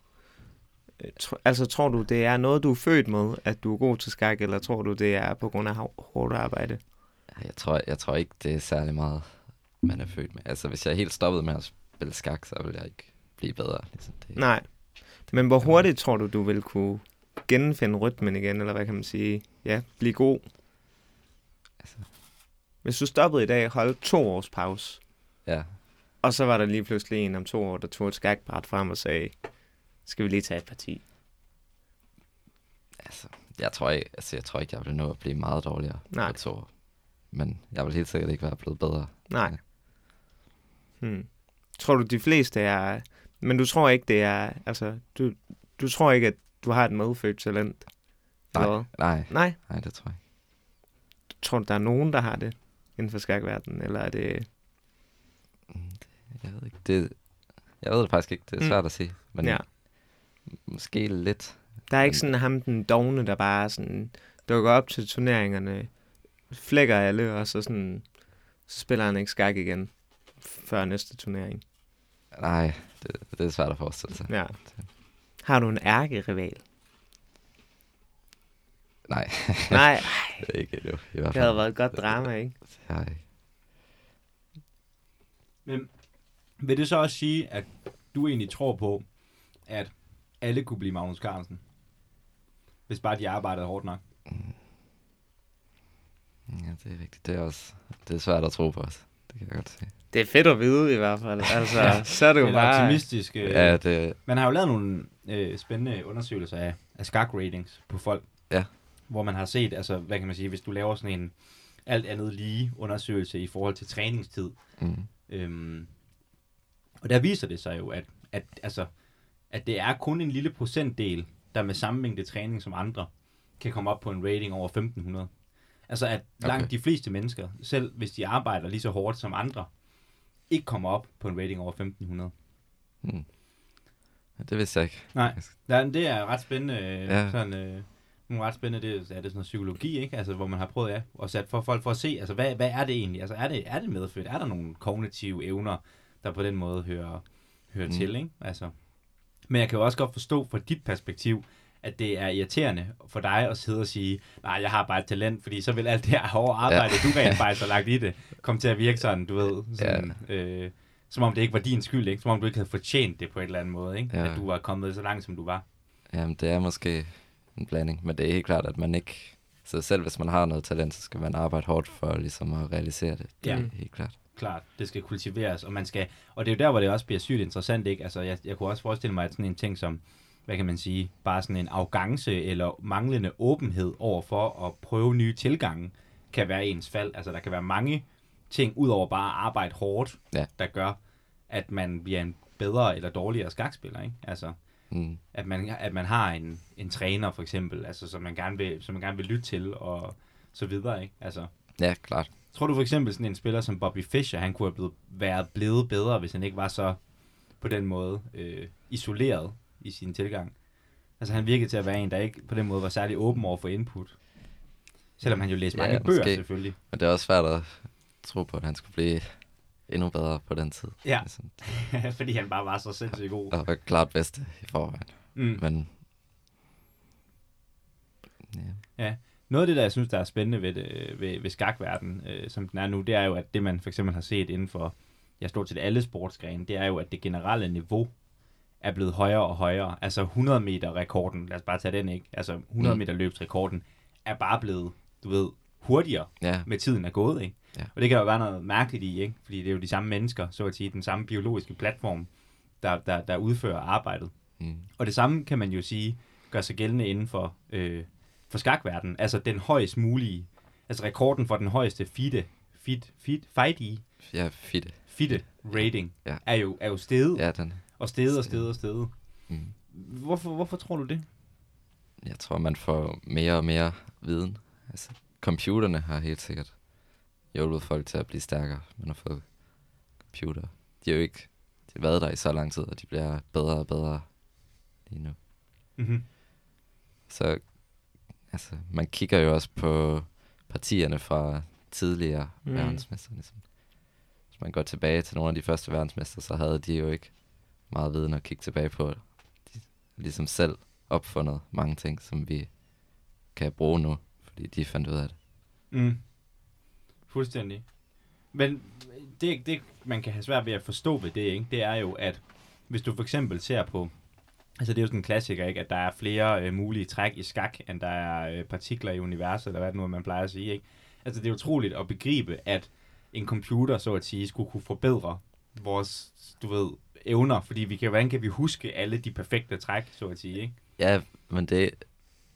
Speaker 1: Øh, tr- Altså, tror du, det er noget, du er født med, at du er god til skak, eller tror du, det er på grund af hav- hårdt arbejde?
Speaker 3: Ej, Jeg tror, jeg tror ikke, det er særlig meget, man er født med. Altså, hvis jeg helt stoppede med at spille skak, så ville jeg ikke blive bedre. Ligesom det.
Speaker 1: Nej. Men hvor hurtigt tror du, du vil kunne genfinde rytmen igen, eller hvad kan man sige? Ja, blive god.
Speaker 3: Altså.
Speaker 1: Hvis du stoppede i dag, holdt to års pause,
Speaker 3: Ja,
Speaker 1: og så var der lige pludselig en om to år, der tog et skakbræt frem og sagde, skal vi lige tage et parti?
Speaker 3: altså, jeg tror ikke, altså, jeg tror ikke, jeg ville nå at blive meget dårligere
Speaker 1: Nej.
Speaker 3: på to år. Men jeg vil helt sikkert ikke være blevet bedre.
Speaker 1: Nej. Hmm. Tror du, de fleste er... Men du tror ikke, det er... Altså, du, du tror ikke, at du har et medfødt talent?
Speaker 3: Nej,
Speaker 1: Eller hvad?
Speaker 3: nej,
Speaker 1: Nej.
Speaker 3: nej, det tror jeg ikke.
Speaker 1: Tror du, der er nogen, der har det inden for skakverdenen? Eller er det...
Speaker 3: Jeg ved ikke, det, jeg ved det faktisk ikke, det er
Speaker 1: Mm.
Speaker 3: svært at sige. Men
Speaker 1: Ja.
Speaker 3: ja. måske lidt.
Speaker 1: Der er ikke
Speaker 3: Men-
Speaker 1: sådan ham, den dogne, der bare sådan dukker op til turneringerne, flækker alle, og så, sådan, så spiller han ikke skak igen før næste turnering.
Speaker 3: Nej, det, det er svært at forestille sig.
Speaker 1: Ja. Har du en ærkerival?
Speaker 3: Nej,
Speaker 1: Nej,
Speaker 3: ikke endnu, i hvert
Speaker 1: det havde
Speaker 3: fald.
Speaker 1: været et godt drama, ikke?
Speaker 3: Jeg har ikke-
Speaker 2: Men vil det så også sige, at du egentlig tror på, at alle kunne blive Magnus Carlsen? Hvis bare de arbejdede hårdt nok.
Speaker 3: Ja, det er rigtigt. Det er også det er svært at tro på os. Det kan jeg godt se.
Speaker 1: Det er fedt at vide i hvert fald. Altså, så er det
Speaker 2: Det er
Speaker 1: jo
Speaker 2: en
Speaker 1: bare...
Speaker 2: optimistisk... øh,
Speaker 3: Ja, det,
Speaker 2: Man har jo lavet nogle øh, spændende undersøgelser af, af skak-ratings på folk.
Speaker 3: Ja.
Speaker 2: Hvor man har set, altså, hvad kan man sige, hvis du laver sådan en alt andet lige undersøgelse i forhold til træningstid.
Speaker 3: mm,
Speaker 2: Øhm, og der viser det sig jo, at, at, altså, at det er kun en lille procentdel, der med samme mængde træning som andre, kan komme op på en rating over 1500. Altså at langt
Speaker 3: Okay.
Speaker 2: de fleste mennesker, selv hvis de arbejder lige så hårdt som andre, ikke kommer op på en rating over 1500.
Speaker 3: mm. Ja, det vidste jeg ikke.
Speaker 2: Nej, ja, men det er ret spændende. Ja.
Speaker 3: Ja.
Speaker 2: Sådan, øh, nogle ret spændende, det er, er det sådan noget psykologi, ikke? Altså, hvor man har prøvet ja, at sætte for folk for at se, altså, hvad, hvad er det egentlig? Altså, er det, er det medfødt? Er der nogle kognitive evner, der på den måde hører, hører mm.
Speaker 3: Mm.
Speaker 2: til, ikke? Altså, men jeg kan jo også godt forstå fra dit perspektiv, at det er irriterende for dig at sidde og sige, nej, jeg har bare et talent, fordi så vil alt det her hårde arbejde, ja. du rent faktisk har lagt i det, komme til at virke sådan, du ved, sådan, ja. øh, som om det ikke var din skyld, ikke? Som om du ikke havde fortjent det på en eller anden måde, ikke?
Speaker 3: Ja.
Speaker 2: At du var kommet så langt, som du var.
Speaker 3: Jamen, det er måske en blanding, men det er helt klart, at man ikke... Så selv hvis man har noget talent, så skal man arbejde hårdt for ligesom at realisere det. Det
Speaker 2: Ja.
Speaker 3: er helt klart.
Speaker 2: klart, det skal kultiveres, og man skal, og det er jo der, hvor det også bliver sygt interessant, ikke? Altså, jeg, jeg kunne også forestille mig, at sådan en ting som, hvad kan man sige, bare sådan en arrogance eller manglende åbenhed over for at prøve nye tilgange, kan være ens fald. Altså, der kan være mange ting, udover bare at arbejde hårdt,
Speaker 3: Ja.
Speaker 2: der gør, at man bliver en bedre eller dårligere skakspiller, ikke? Altså,
Speaker 3: Mm.
Speaker 2: at man, at man har en, en træner, for eksempel, altså, som man gerne vil, som man gerne vil lytte til, og så videre, ikke? Altså,
Speaker 3: Ja, klart.
Speaker 2: Tror du for eksempel sådan en spiller som Bobby Fischer, han kunne have blevet, været blevet bedre, hvis han ikke var så på den måde øh, isoleret i sin tilgang? Altså han virkede til at være en, der ikke på den måde var særlig åben over for input. Selvom han jo læste mange
Speaker 3: Ja,
Speaker 2: ja, bøger
Speaker 3: måske.
Speaker 2: selvfølgelig.
Speaker 3: Men det er også svært at tro på, at han skulle blive endnu bedre på den tid.
Speaker 2: Ja.
Speaker 3: Ligesom.
Speaker 2: Fordi han bare var så sindssygt god.
Speaker 3: Og var klart bedste i forvejen.
Speaker 2: Mm.
Speaker 3: Men ja.
Speaker 2: Noget af det, der jeg synes, der er spændende ved, det, øh, ved, ved skakverdenen, øh, som den er nu, det er jo, at det man for eksempel har set inden for, ja, stort set alle sportsgrene, det er jo, at det generelle niveau er blevet højere og højere. Altså 100 meter rekorden, lad os bare tage den, ikke? Altså 100
Speaker 3: Mm.
Speaker 2: meter løbsrekorden er bare blevet, du ved, hurtigere
Speaker 3: ja,
Speaker 2: med tiden er gået, ikke?
Speaker 3: Ja.
Speaker 2: Og det kan der jo være noget mærkeligt i, ikke? Fordi det er jo de samme mennesker, så at sige, den samme biologiske platform, der, der, der udfører arbejdet.
Speaker 3: mm,
Speaker 2: Og det samme kan man jo sige gør sig gældende inden for, øh, for skakverdenen. Altså den højst mulige, altså rekorden for den højeste fide, fit, fit, fight i,
Speaker 3: ja fedt.
Speaker 2: fitte rating
Speaker 3: Ja.
Speaker 2: er jo, er jo steget,
Speaker 3: Ja, den.
Speaker 2: og steget og steget og steget.
Speaker 3: Mm.
Speaker 2: Hvorfor, hvorfor tror du det?
Speaker 3: Jeg tror, man får mere og mere viden. Altså, computerne har helt sikkert hjulpet folk til at blive stærkere. Man har fået computer. De har jo ikke de har været der i så lang tid, og de bliver bedre og bedre lige nu.
Speaker 2: Mm-hmm.
Speaker 3: Så altså, man kigger jo også på partierne fra tidligere
Speaker 1: Mm.
Speaker 3: mm. verdensmester. Ligesom. Hvis man går tilbage til nogle af de første verdensmester, så havde de jo ikke meget viden at kigge tilbage på. De har ligesom selv opfundet mange ting, som vi kan bruge nu, fordi de fandt ud af det.
Speaker 2: Mm. Fuldstændig. Men det, det, man kan have svært ved at forstå ved det, ikke? det er jo, at hvis du for eksempel ser på, altså det er jo sådan en klassiker, ikke? at der er flere øh, mulige træk i skak, end der er øh, partikler i universet, eller hvad det nu er, man plejer at sige. Ikke? Altså det er utroligt at begribe, at en computer, så at sige, skulle kunne forbedre vores, du ved, evner, fordi vi kan, hvordan kan vi huske alle de perfekte træk, så at sige, ikke?
Speaker 3: Ja, men det er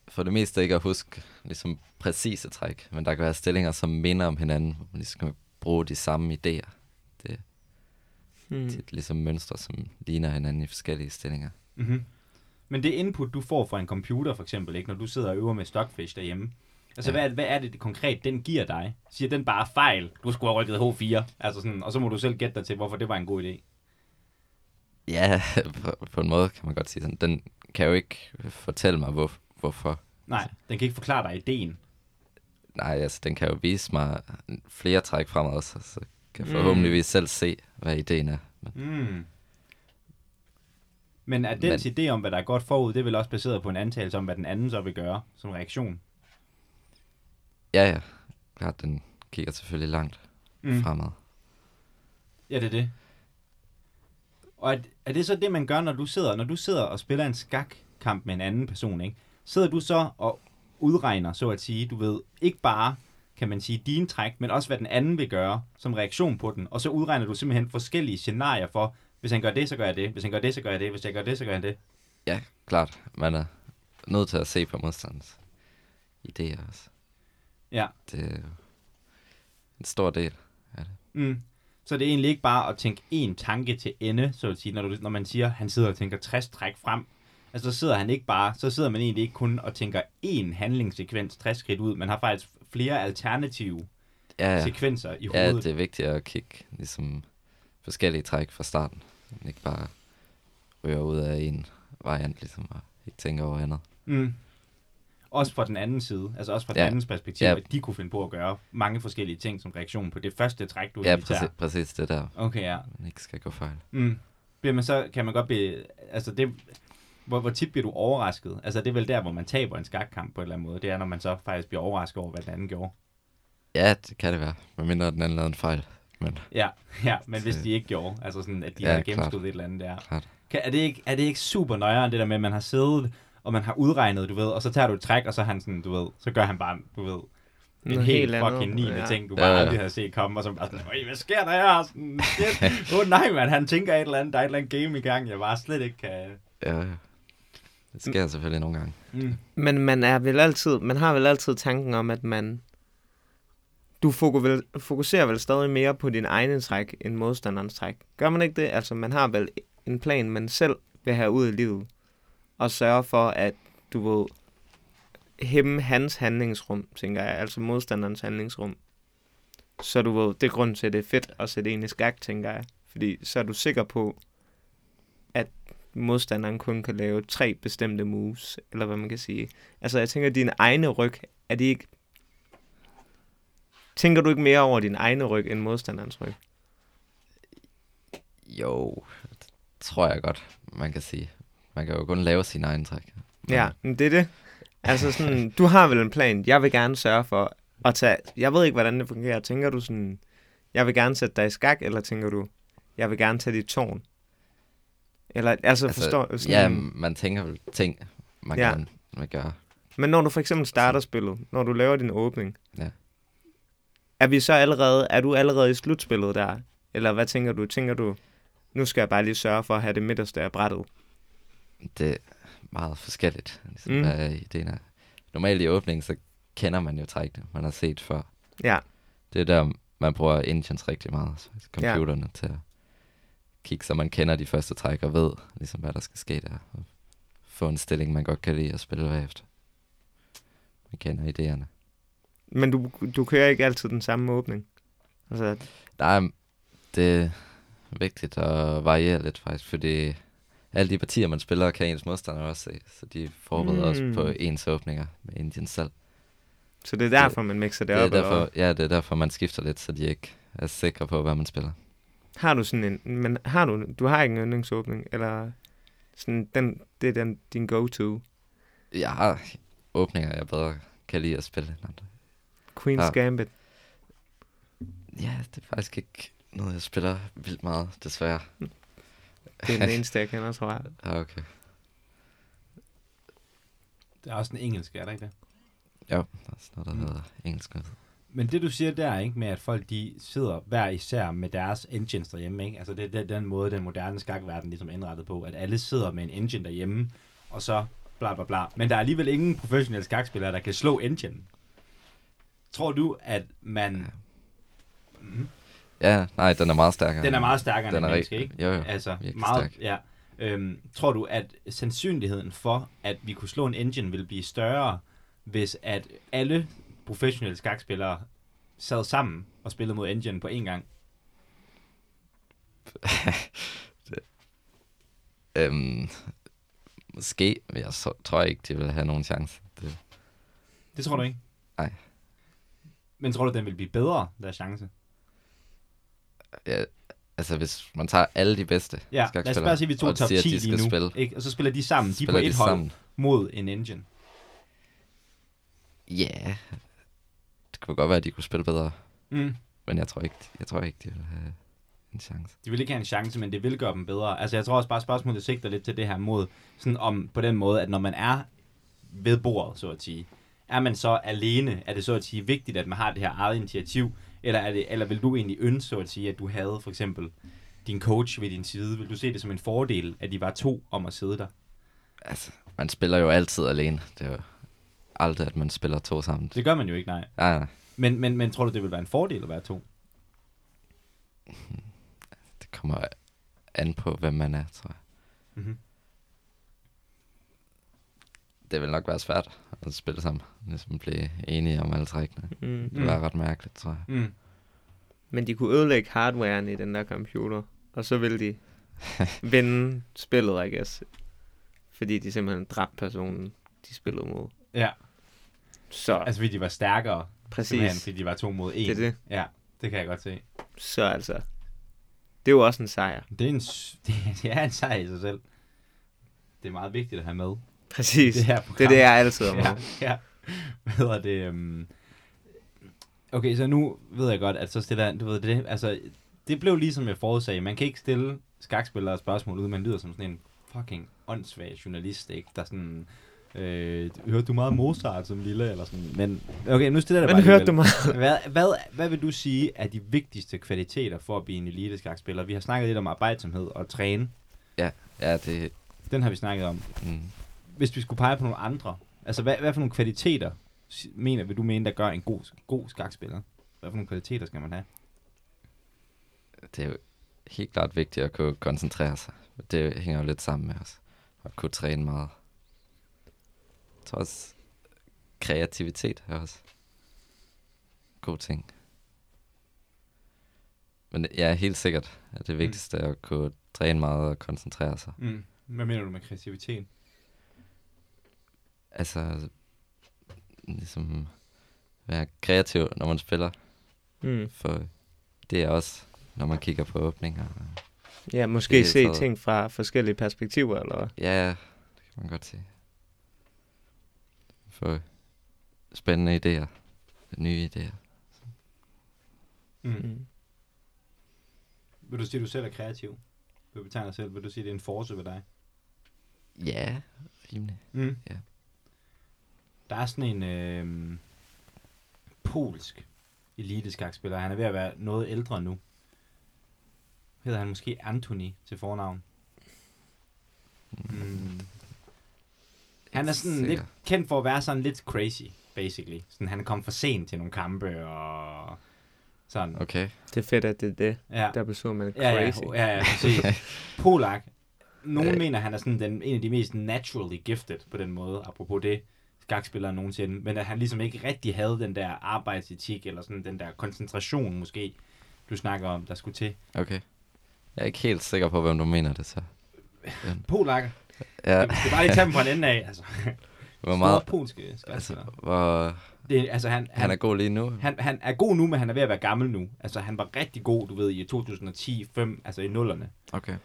Speaker 3: for det meste ikke at huske ligesom præcise træk, men der kan være stillinger, som minder om hinanden, hvor man ligesom kan bruge de samme idéer. Det,
Speaker 1: Mm.
Speaker 3: tit ligesom mønstre, som ligner hinanden i forskellige stillinger.
Speaker 2: Mm-hmm. Men det input, du får fra en computer, for eksempel, ikke, når du sidder og øver med stockfish derhjemme, altså ja.
Speaker 3: Ja.
Speaker 2: hvad, er- hvad er det, det konkret, den giver dig? Siger den bare fejl, du skulle have rykket H4, altså sådan, og så må du selv gætte dig til, hvorfor det var en god idé.
Speaker 3: Ja, på, på en måde kan man godt sige sådan. Den kan jo ikke fortælle mig, hvor, hvorfor.
Speaker 2: Nej, den kan ikke forklare dig ideen.
Speaker 3: Nej, altså den kan jo vise mig flere træk fremad, så, så kan jeg
Speaker 1: Mm.
Speaker 3: forhåbentligvis selv se, hvad ideen er. Men,
Speaker 2: Mm. Men er dens Men... idé om, hvad der er godt forud, det er vel også baseret på en antagelse om, hvad den anden så vil gøre som reaktion?
Speaker 3: ja, ja, klart, den kigger selvfølgelig langt mm. fremad.
Speaker 2: Ja, det er det. Og er, er det så det, man gør, når du sidder, når du sidder og spiller en skakkamp med en anden person, ikke? Sidder du så og udregner, så at sige, du ved, ikke bare, kan man sige, dine træk, men også hvad den anden vil gøre som reaktion på den, og så udregner du simpelthen forskellige scenarier for, hvis han gør det, så gør jeg det, hvis han gør det, så gør jeg det, hvis jeg gør det, så gør jeg det.
Speaker 3: Ja, klart, man er nødt til at se på modstanders idéer også.
Speaker 2: Ja.
Speaker 3: Det er jo en stor del.
Speaker 2: Mm. Så det er egentlig ikke bare at tænke én tanke til ende, så at sige, når, du, når man siger, han sidder og tænker 60 træk frem, altså så sidder han ikke bare, så sidder man egentlig ikke kun og tænker én handlingssekvens 60 skridt ud, man har faktisk flere alternative
Speaker 3: Ja,
Speaker 2: ja.
Speaker 3: ja.
Speaker 2: sekvenser i
Speaker 3: Ja,
Speaker 2: hovedet.
Speaker 3: det er vigtigt at kigge ligesom, forskellige træk fra starten. Så man ikke bare ryger ud af en variant, ligesom, og ikke tænker over andet.
Speaker 2: Mm. Også fra den anden side, altså også fra den
Speaker 3: Ja.
Speaker 2: andens perspektiv,
Speaker 3: Ja.
Speaker 2: at de kunne finde på at gøre mange forskellige ting som reaktion på det første træk, du
Speaker 3: Ja,
Speaker 2: egentlig tager.
Speaker 3: præcis, præcis det der,
Speaker 2: Okay, ja.
Speaker 3: man ikke skal gå fejl.
Speaker 2: Mm. Bliver man så, kan man godt blive, altså det, hvor, hvor tit bliver du overrasket? Altså det er vel der, hvor man taber en skakkamp på en eller anden måde. Det er, når man så faktisk bliver overrasket over, hvad den anden gjorde.
Speaker 3: Ja, det kan det være, medmindre den anden lavede en fejl. Men
Speaker 2: Ja, ja men hvis de ikke gjorde, altså sådan, at de ja,
Speaker 3: Ja,
Speaker 2: havde
Speaker 3: klart.
Speaker 2: gennemskudt et eller andet der.
Speaker 3: klart,
Speaker 2: Kan, er, det ikke, er det ikke super nøjeren, det der med, at man har siddet, og man har udregnet, du ved, og så tager du et træk, og så er han sådan, du ved, så gør han bare, du ved, en
Speaker 1: Noget
Speaker 2: helt,
Speaker 1: helt andet.
Speaker 2: fucking niende
Speaker 1: Ja.
Speaker 2: ting, du
Speaker 3: Ja,
Speaker 2: bare
Speaker 3: ja.
Speaker 2: aldrig havde set komme, og så bare sådan, "Øj, hvad sker der her? Sådan, shit. Åh oh, nej, man, han tænker et eller andet, der er et eller andet game i gang, jeg bare slet ikke kan...
Speaker 3: ja, ja. Det sker selvfølgelig nogle gange.
Speaker 2: Mm.
Speaker 1: Men man, er vel altid, man har vel altid tanken om, at man... Du foku- vel, fokuserer vel stadig mere på din egen træk end modstanderens træk. Gør man ikke det? Altså, man har vel en plan, man selv vil have ud i livet. Og sørge for, at du vil hæmme hans handlingsrum, tænker jeg. Altså modstanderens handlingsrum. Så du ved, det er grund til, at det er fedt at sætte en i skak, tænker jeg. Fordi så er du sikker på, at modstanderen kun kan lave tre bestemte moves, eller hvad man kan sige. Altså, jeg tænker, at dine egne ryg, er de ikke... Tænker du ikke mere over din egne ryg, end modstanderens ryg?
Speaker 3: Jo, det tror jeg godt, man kan sige. Man kan jo kun lave sin egen træk.
Speaker 1: Ja, men det er det. Altså sådan, du har vel en plan. Jeg vil gerne sørge for at tage... Jeg ved ikke, hvordan det fungerer. Tænker du sådan, jeg vil gerne sætte dig i skak, eller tænker du, jeg vil gerne tage dit tårn? Eller, altså, altså forstår... Sådan,
Speaker 3: ja, man tænker vel ting, man
Speaker 1: Ja.
Speaker 3: ja. kan man gør.
Speaker 1: Men når du for eksempel starter spillet, når du laver din åbning,
Speaker 3: Ja.
Speaker 1: er vi så allerede, er du allerede i slutspillet der? Eller hvad tænker du? Tænker du, nu skal jeg bare lige sørge for at have det midterste af brættet?
Speaker 3: Det er meget forskelligt, ligesom,
Speaker 1: Mm.
Speaker 3: mm. hvad ideen er. Normalt i åbningen, så kender man jo trækkene, man har set før.
Speaker 1: Ja,
Speaker 3: Det er der, man bruger engines rigtig meget, altså computerne ja. til at kigge, så man kender de første træk og ved, ligesom hvad der skal ske der. Og få en stilling, man godt kan lide at spille bagefter. Man kender idéerne.
Speaker 1: men du, du kører ikke altid den samme åbning. Altså,
Speaker 3: Der er, det er vigtigt at variere lidt faktisk, fordi alle de partier, man spiller, kan ens modstandere også se, så de forbereder mm. også
Speaker 1: Mm.
Speaker 3: på ens åbninger med Indian selv.
Speaker 1: så det er derfor, man mixer det,
Speaker 3: Det er
Speaker 1: op. eller hvad?
Speaker 3: derfor, ja, det er derfor, man skifter lidt, så de ikke er sikre på, hvad man spiller.
Speaker 1: Har du sådan en, men har du, du har ikke en yndlingsåbning, eller sådan, den, det er den, din go-to.
Speaker 3: Jeg har åbninger, jeg bedre kan lide at spille end andre.
Speaker 1: Queen's
Speaker 3: Ja.
Speaker 1: Gambit.
Speaker 3: Ja, det er faktisk ikke noget, jeg spiller vildt meget, desværre.
Speaker 1: Det er den eneste, jeg kender, tror jeg.
Speaker 3: Ah, okay.
Speaker 2: Der er også en engelsk, er der ikke det?
Speaker 3: Jo, der er sådan noget, der
Speaker 2: Mm.
Speaker 3: hedder engelsk. noget.
Speaker 2: Men det du siger der, ikke, med at folk de sidder hver især med deres engines derhjemme, ikke? Altså det er den- den måde, den moderne skakverden ligesom er indrettet på, at alle sidder med en engine derhjemme, og så bla bla bla. Men der er alligevel ingen professionelle skakspillere, der kan slå engine. Tror du, at man...
Speaker 3: Ja, nej, den er meget stærkere.
Speaker 2: Den er meget stærkere end
Speaker 3: Den
Speaker 2: en
Speaker 3: er
Speaker 2: menneske,
Speaker 3: rigtig,
Speaker 2: ikke?
Speaker 3: jo, jo.
Speaker 2: Altså,
Speaker 3: virkelig
Speaker 2: meget,
Speaker 3: stærk.
Speaker 2: ja. Øhm, tror du, at sandsynligheden for, at vi kunne slå en engine, ville blive større, hvis at alle professionelle skakspillere sad sammen og spillede mod engine på én gang?
Speaker 3: Øhm, måske, men jeg så, tror ikke, de vil have nogen chance. Det,
Speaker 2: Det tror du ikke?
Speaker 3: Nej.
Speaker 2: Men tror du, den vil blive bedre, der er chance?
Speaker 3: ja, altså, hvis man tager alle de bedste
Speaker 2: Ja, lad os bare sige, at vi tog
Speaker 3: og
Speaker 2: top 10
Speaker 3: siger, at de
Speaker 2: lige
Speaker 3: skal
Speaker 2: nu,
Speaker 3: spille,
Speaker 2: ikke? og så spiller de sammen, de er på
Speaker 3: spiller
Speaker 2: et
Speaker 3: de
Speaker 2: hold sammen.
Speaker 3: sammen.
Speaker 2: mod en engine.
Speaker 3: Ja, det kunne godt være, at de kunne spille bedre,
Speaker 2: Mm.
Speaker 3: men jeg tror ikke, jeg tror ikke de vil have en chance.
Speaker 2: De vil ikke have en chance, men det vil gøre dem bedre. Altså, jeg tror også bare, spørgsmålet sigter lidt til det her mod, sådan om på den måde, at når man er ved bordet, så at sige, er man så alene? Er det så at sige vigtigt, at man har det her eget initiativ? Eller, er det, eller vil du egentlig ønske, så at sige, at du havde for eksempel din coach ved din side? Vil du se det som en fordel, at de var to om at sidde der?
Speaker 3: Altså, man spiller jo altid alene. Det er jo aldrig, at man spiller to sammen.
Speaker 2: Det gør man jo ikke, nej.
Speaker 3: Nej, nej,
Speaker 2: Men, men, men tror du, det vil være en fordel at være to?
Speaker 3: det kommer an på, hvem man er, tror jeg.
Speaker 2: Mhm.
Speaker 3: Det vil nok være svært at spille sammen, ligesom blive enige om alle trækkene.
Speaker 1: Mm.
Speaker 3: Det var ret mærkeligt, tror jeg.
Speaker 2: Mm.
Speaker 1: Men de kunne ødelægge hardwaren i den der computer, og så ville de vinde spillet, I guess. Fordi de simpelthen dræbte personen, de spillede mod.
Speaker 2: Ja,
Speaker 1: Så
Speaker 2: altså fordi de var stærkere, simpelthen,
Speaker 1: præcis,
Speaker 2: fordi de var to mod en.
Speaker 1: det er det.
Speaker 2: Ja, det kan jeg godt se.
Speaker 1: Så altså, det er jo også en sejr.
Speaker 2: Det er en, s- det, det er en sejr i sig selv. Det er meget vigtigt at have med.
Speaker 1: Præcis,
Speaker 2: Det
Speaker 1: det,
Speaker 2: her
Speaker 1: det er
Speaker 2: program.
Speaker 1: det, jeg altid har
Speaker 2: ja,
Speaker 1: med.
Speaker 2: ja. Hvad hedder det? Um... Okay, så nu ved jeg godt, at så stiller du ved det, altså, det blev ligesom jeg forudsagde. Man kan ikke stille skakspillere spørgsmål ud, man lyder som sådan en fucking åndssvag journalist, ikke? Der sådan, øh, hørte du meget Mozart som lille, eller sådan, men okay, nu stiller jeg det bare
Speaker 1: Men hørte
Speaker 2: alligevel.
Speaker 1: du mig?
Speaker 2: Hvad, hvad, hvad vil du sige er de vigtigste kvaliteter for at blive en eliteskakspiller? Vi har snakket lidt om arbejdsomhed og træne.
Speaker 3: Ja, det...
Speaker 2: Den har vi snakket om.
Speaker 3: Mm,
Speaker 2: Hvis vi skulle pege på nogle andre, altså hvad, hvad for nogle kvaliteter si- mener vil du mene, der gør en god, god skakspiller? Hvad for nogle kvaliteter skal man have?
Speaker 3: det er jo helt klart vigtigt at kunne koncentrere sig. Det hænger jo lidt sammen med os. At kunne træne meget. Jeg tror også, kreativitet er også god ting. Men ja, helt sikkert, at det vigtigste er at kunne træne meget og koncentrere sig.
Speaker 2: Mm. Hvad mener du med kreativitet?
Speaker 3: Altså, ligesom være kreativ, når man spiller.
Speaker 1: Mm.
Speaker 3: For det er også, når man kigger på åbninger. og
Speaker 1: Ja,
Speaker 3: Det er
Speaker 1: måske se
Speaker 3: federe.
Speaker 1: ting fra forskellige perspektiver, eller hvad?
Speaker 3: Ja, det kan man godt sige. For spændende idéer. Nye idéer.
Speaker 2: Mm.
Speaker 1: Mm.
Speaker 2: Vil du sige, at du selv er kreativ? Vil du betegne dig selv? Vil du sige, at det er en force ved dig?
Speaker 3: Ja, rimelig.
Speaker 2: Mm.
Speaker 3: Ja.
Speaker 2: Der er sådan en øh, polsk eliteskakspiller. Han er ved at være noget ældre nu. Hedder han måske Anthony til fornavn. Mm. Han er sådan
Speaker 3: Sikker.
Speaker 2: lidt kendt for at være sådan lidt crazy, basically. Sådan, han kom for sent til nogle kampe og sådan.
Speaker 3: Okay.
Speaker 1: Det er fedt, at det er det.
Speaker 2: Ja.
Speaker 1: Der besøger man
Speaker 2: Ja, ja,
Speaker 1: crazy.
Speaker 2: ja, ja, præcis. Polak. Nogen
Speaker 3: Øh.
Speaker 2: mener, han er sådan den, en af de mest naturally gifted på den måde, apropos det, skakspillere nogensinde. Men at han ligesom ikke rigtig havde den der arbejdsetik, eller sådan den der koncentration måske, du snakker om, der skulle til.
Speaker 3: Okay. Jeg er ikke helt sikker på, hvem du mener det så.
Speaker 2: Polak,
Speaker 3: Ja,
Speaker 2: ja. skal bare lige tage dem fra den ende af. Altså,
Speaker 3: hvor meget...
Speaker 2: Store polske
Speaker 3: Altså,
Speaker 2: skakspillere.
Speaker 3: hvor...
Speaker 2: Det, er- altså han, han,
Speaker 3: Han er god lige nu.
Speaker 2: han, han er god nu, men han er ved at være gammel nu. Altså, han var rigtig god, du ved, i 2010, 5, altså i nullerne.
Speaker 3: Okay.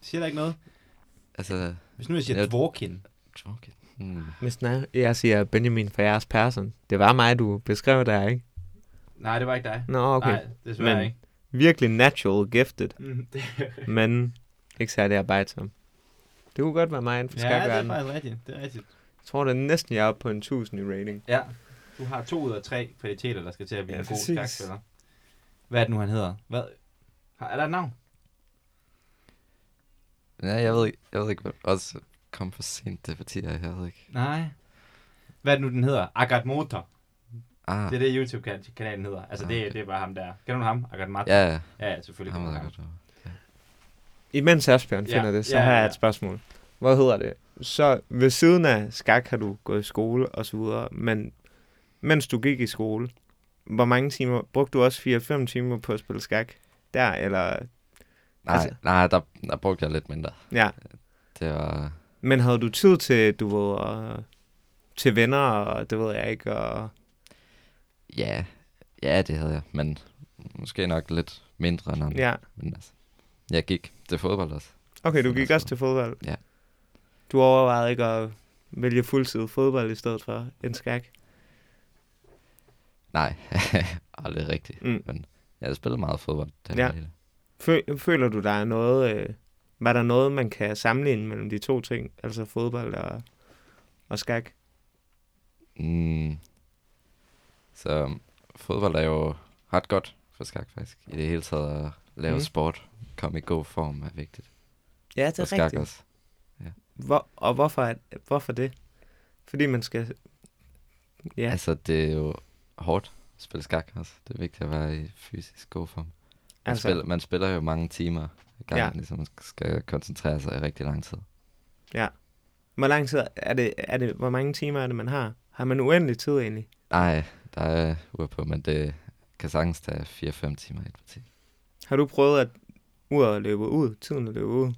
Speaker 2: Siger der ikke noget?
Speaker 3: Altså...
Speaker 2: Hvis nu jeg siger
Speaker 3: Ja.
Speaker 2: Dvorkin,
Speaker 3: Okay. Hmm.
Speaker 1: Hvis nej, jeg siger Benjamin for jeres person. Det var mig, du beskrev der, ikke?
Speaker 2: Nej, det var ikke dig.
Speaker 1: Nå, okay.
Speaker 2: Nej, desværre
Speaker 1: Men-
Speaker 2: ikke.
Speaker 1: Virkelig natural gifted,
Speaker 2: Mm, det,
Speaker 1: men ikke særlig arbejdsom. Det kunne godt være mig inden for
Speaker 2: ja, det er
Speaker 1: skakverdenen.
Speaker 2: faktisk rigtigt. Det er rigtigt.
Speaker 1: Jeg tror, det er næsten, jeg er oppe på en 1000 i rating.
Speaker 2: Ja. Du har to ud af tre kvaliteter, der skal til at blive
Speaker 1: Ja,
Speaker 2: en god
Speaker 1: præcis.
Speaker 2: skakspiller. Hvad er det nu, han hedder? Hvad? Har, er der et navn?
Speaker 3: Ja, jeg ved ikke, jeg ved ikke, hvad også kom for sent til partier, jeg ved ikke.
Speaker 2: Nej. Hvad er det nu, den hedder? Agat Motor.
Speaker 3: Ah,
Speaker 2: Det er det, YouTube-kanalen hedder. Altså, det,
Speaker 3: Ah, okay.
Speaker 2: det er bare ham der. Kender du ham? Agat Motor?
Speaker 3: ja, ja,
Speaker 2: ja, ja selvfølgelig.
Speaker 3: ham
Speaker 2: kender
Speaker 3: ved
Speaker 2: du
Speaker 3: jeg godt. hvad-
Speaker 1: Imens Asbjørn
Speaker 2: Ja,
Speaker 1: finder det, så
Speaker 2: ja,
Speaker 1: har
Speaker 2: ja.
Speaker 1: jeg et spørgsmål. Hvad hedder det? Så ved siden af skak har du gået i skole og så videre, men mens du gik i skole, hvor mange timer, brugte du også 4-5 timer på at spille skak? Der, eller...
Speaker 3: Nej,
Speaker 1: Altså-
Speaker 3: nej der, der brugte jeg lidt mindre.
Speaker 1: Ja.
Speaker 3: Det var...
Speaker 1: Men havde du tid til, du ved, og, til venner, og det ved jeg ikke, og...
Speaker 3: Ja, ja, det havde jeg, men måske nok lidt mindre end andre.
Speaker 1: Ja,
Speaker 3: Men altså, jeg gik til fodbold også.
Speaker 1: okay, du
Speaker 3: Fint
Speaker 1: gik
Speaker 3: også.
Speaker 1: også til fodbold.
Speaker 3: Ja.
Speaker 1: Du overvejede ikke at vælge fuldtid fodbold i stedet for en skak.
Speaker 3: Nej, aldrig rigtigt.
Speaker 1: Mm.
Speaker 3: Men jeg har spillet meget fodbold. Det
Speaker 1: Ja. Fø- føler du, der er noget... Øh, var der noget, man kan sammenligne mellem de to ting? Altså fodbold og, og skak?
Speaker 3: Mm. Så um, fodbold er jo ret godt for skak, faktisk. I det hele taget at lave
Speaker 1: Mm.
Speaker 3: mm. sport, komme i god form er vigtigt.
Speaker 1: Ja,
Speaker 3: og skak også.
Speaker 1: Hvor, og hvorfor, er, hvorfor det? Fordi man skal... Ja,
Speaker 3: Ja.
Speaker 1: altså,
Speaker 3: Altså, det er jo hårdt at spille skak også. Det er vigtigt at være i fysisk god form. Man, altså. spiller, man spiller jo mange timer i gang,
Speaker 1: Ja.
Speaker 3: ja. ligesom man skal koncentrere sig i rigtig lang tid.
Speaker 1: hvor lang tid er det, er det, hvor mange timer er det, man har? Har man uendelig tid egentlig?
Speaker 3: Nej, der er ur på, men det kan sagtens tage 4-5 timer i et parti.
Speaker 1: Har du prøvet at uret løbe ud, tiden at løbe ud?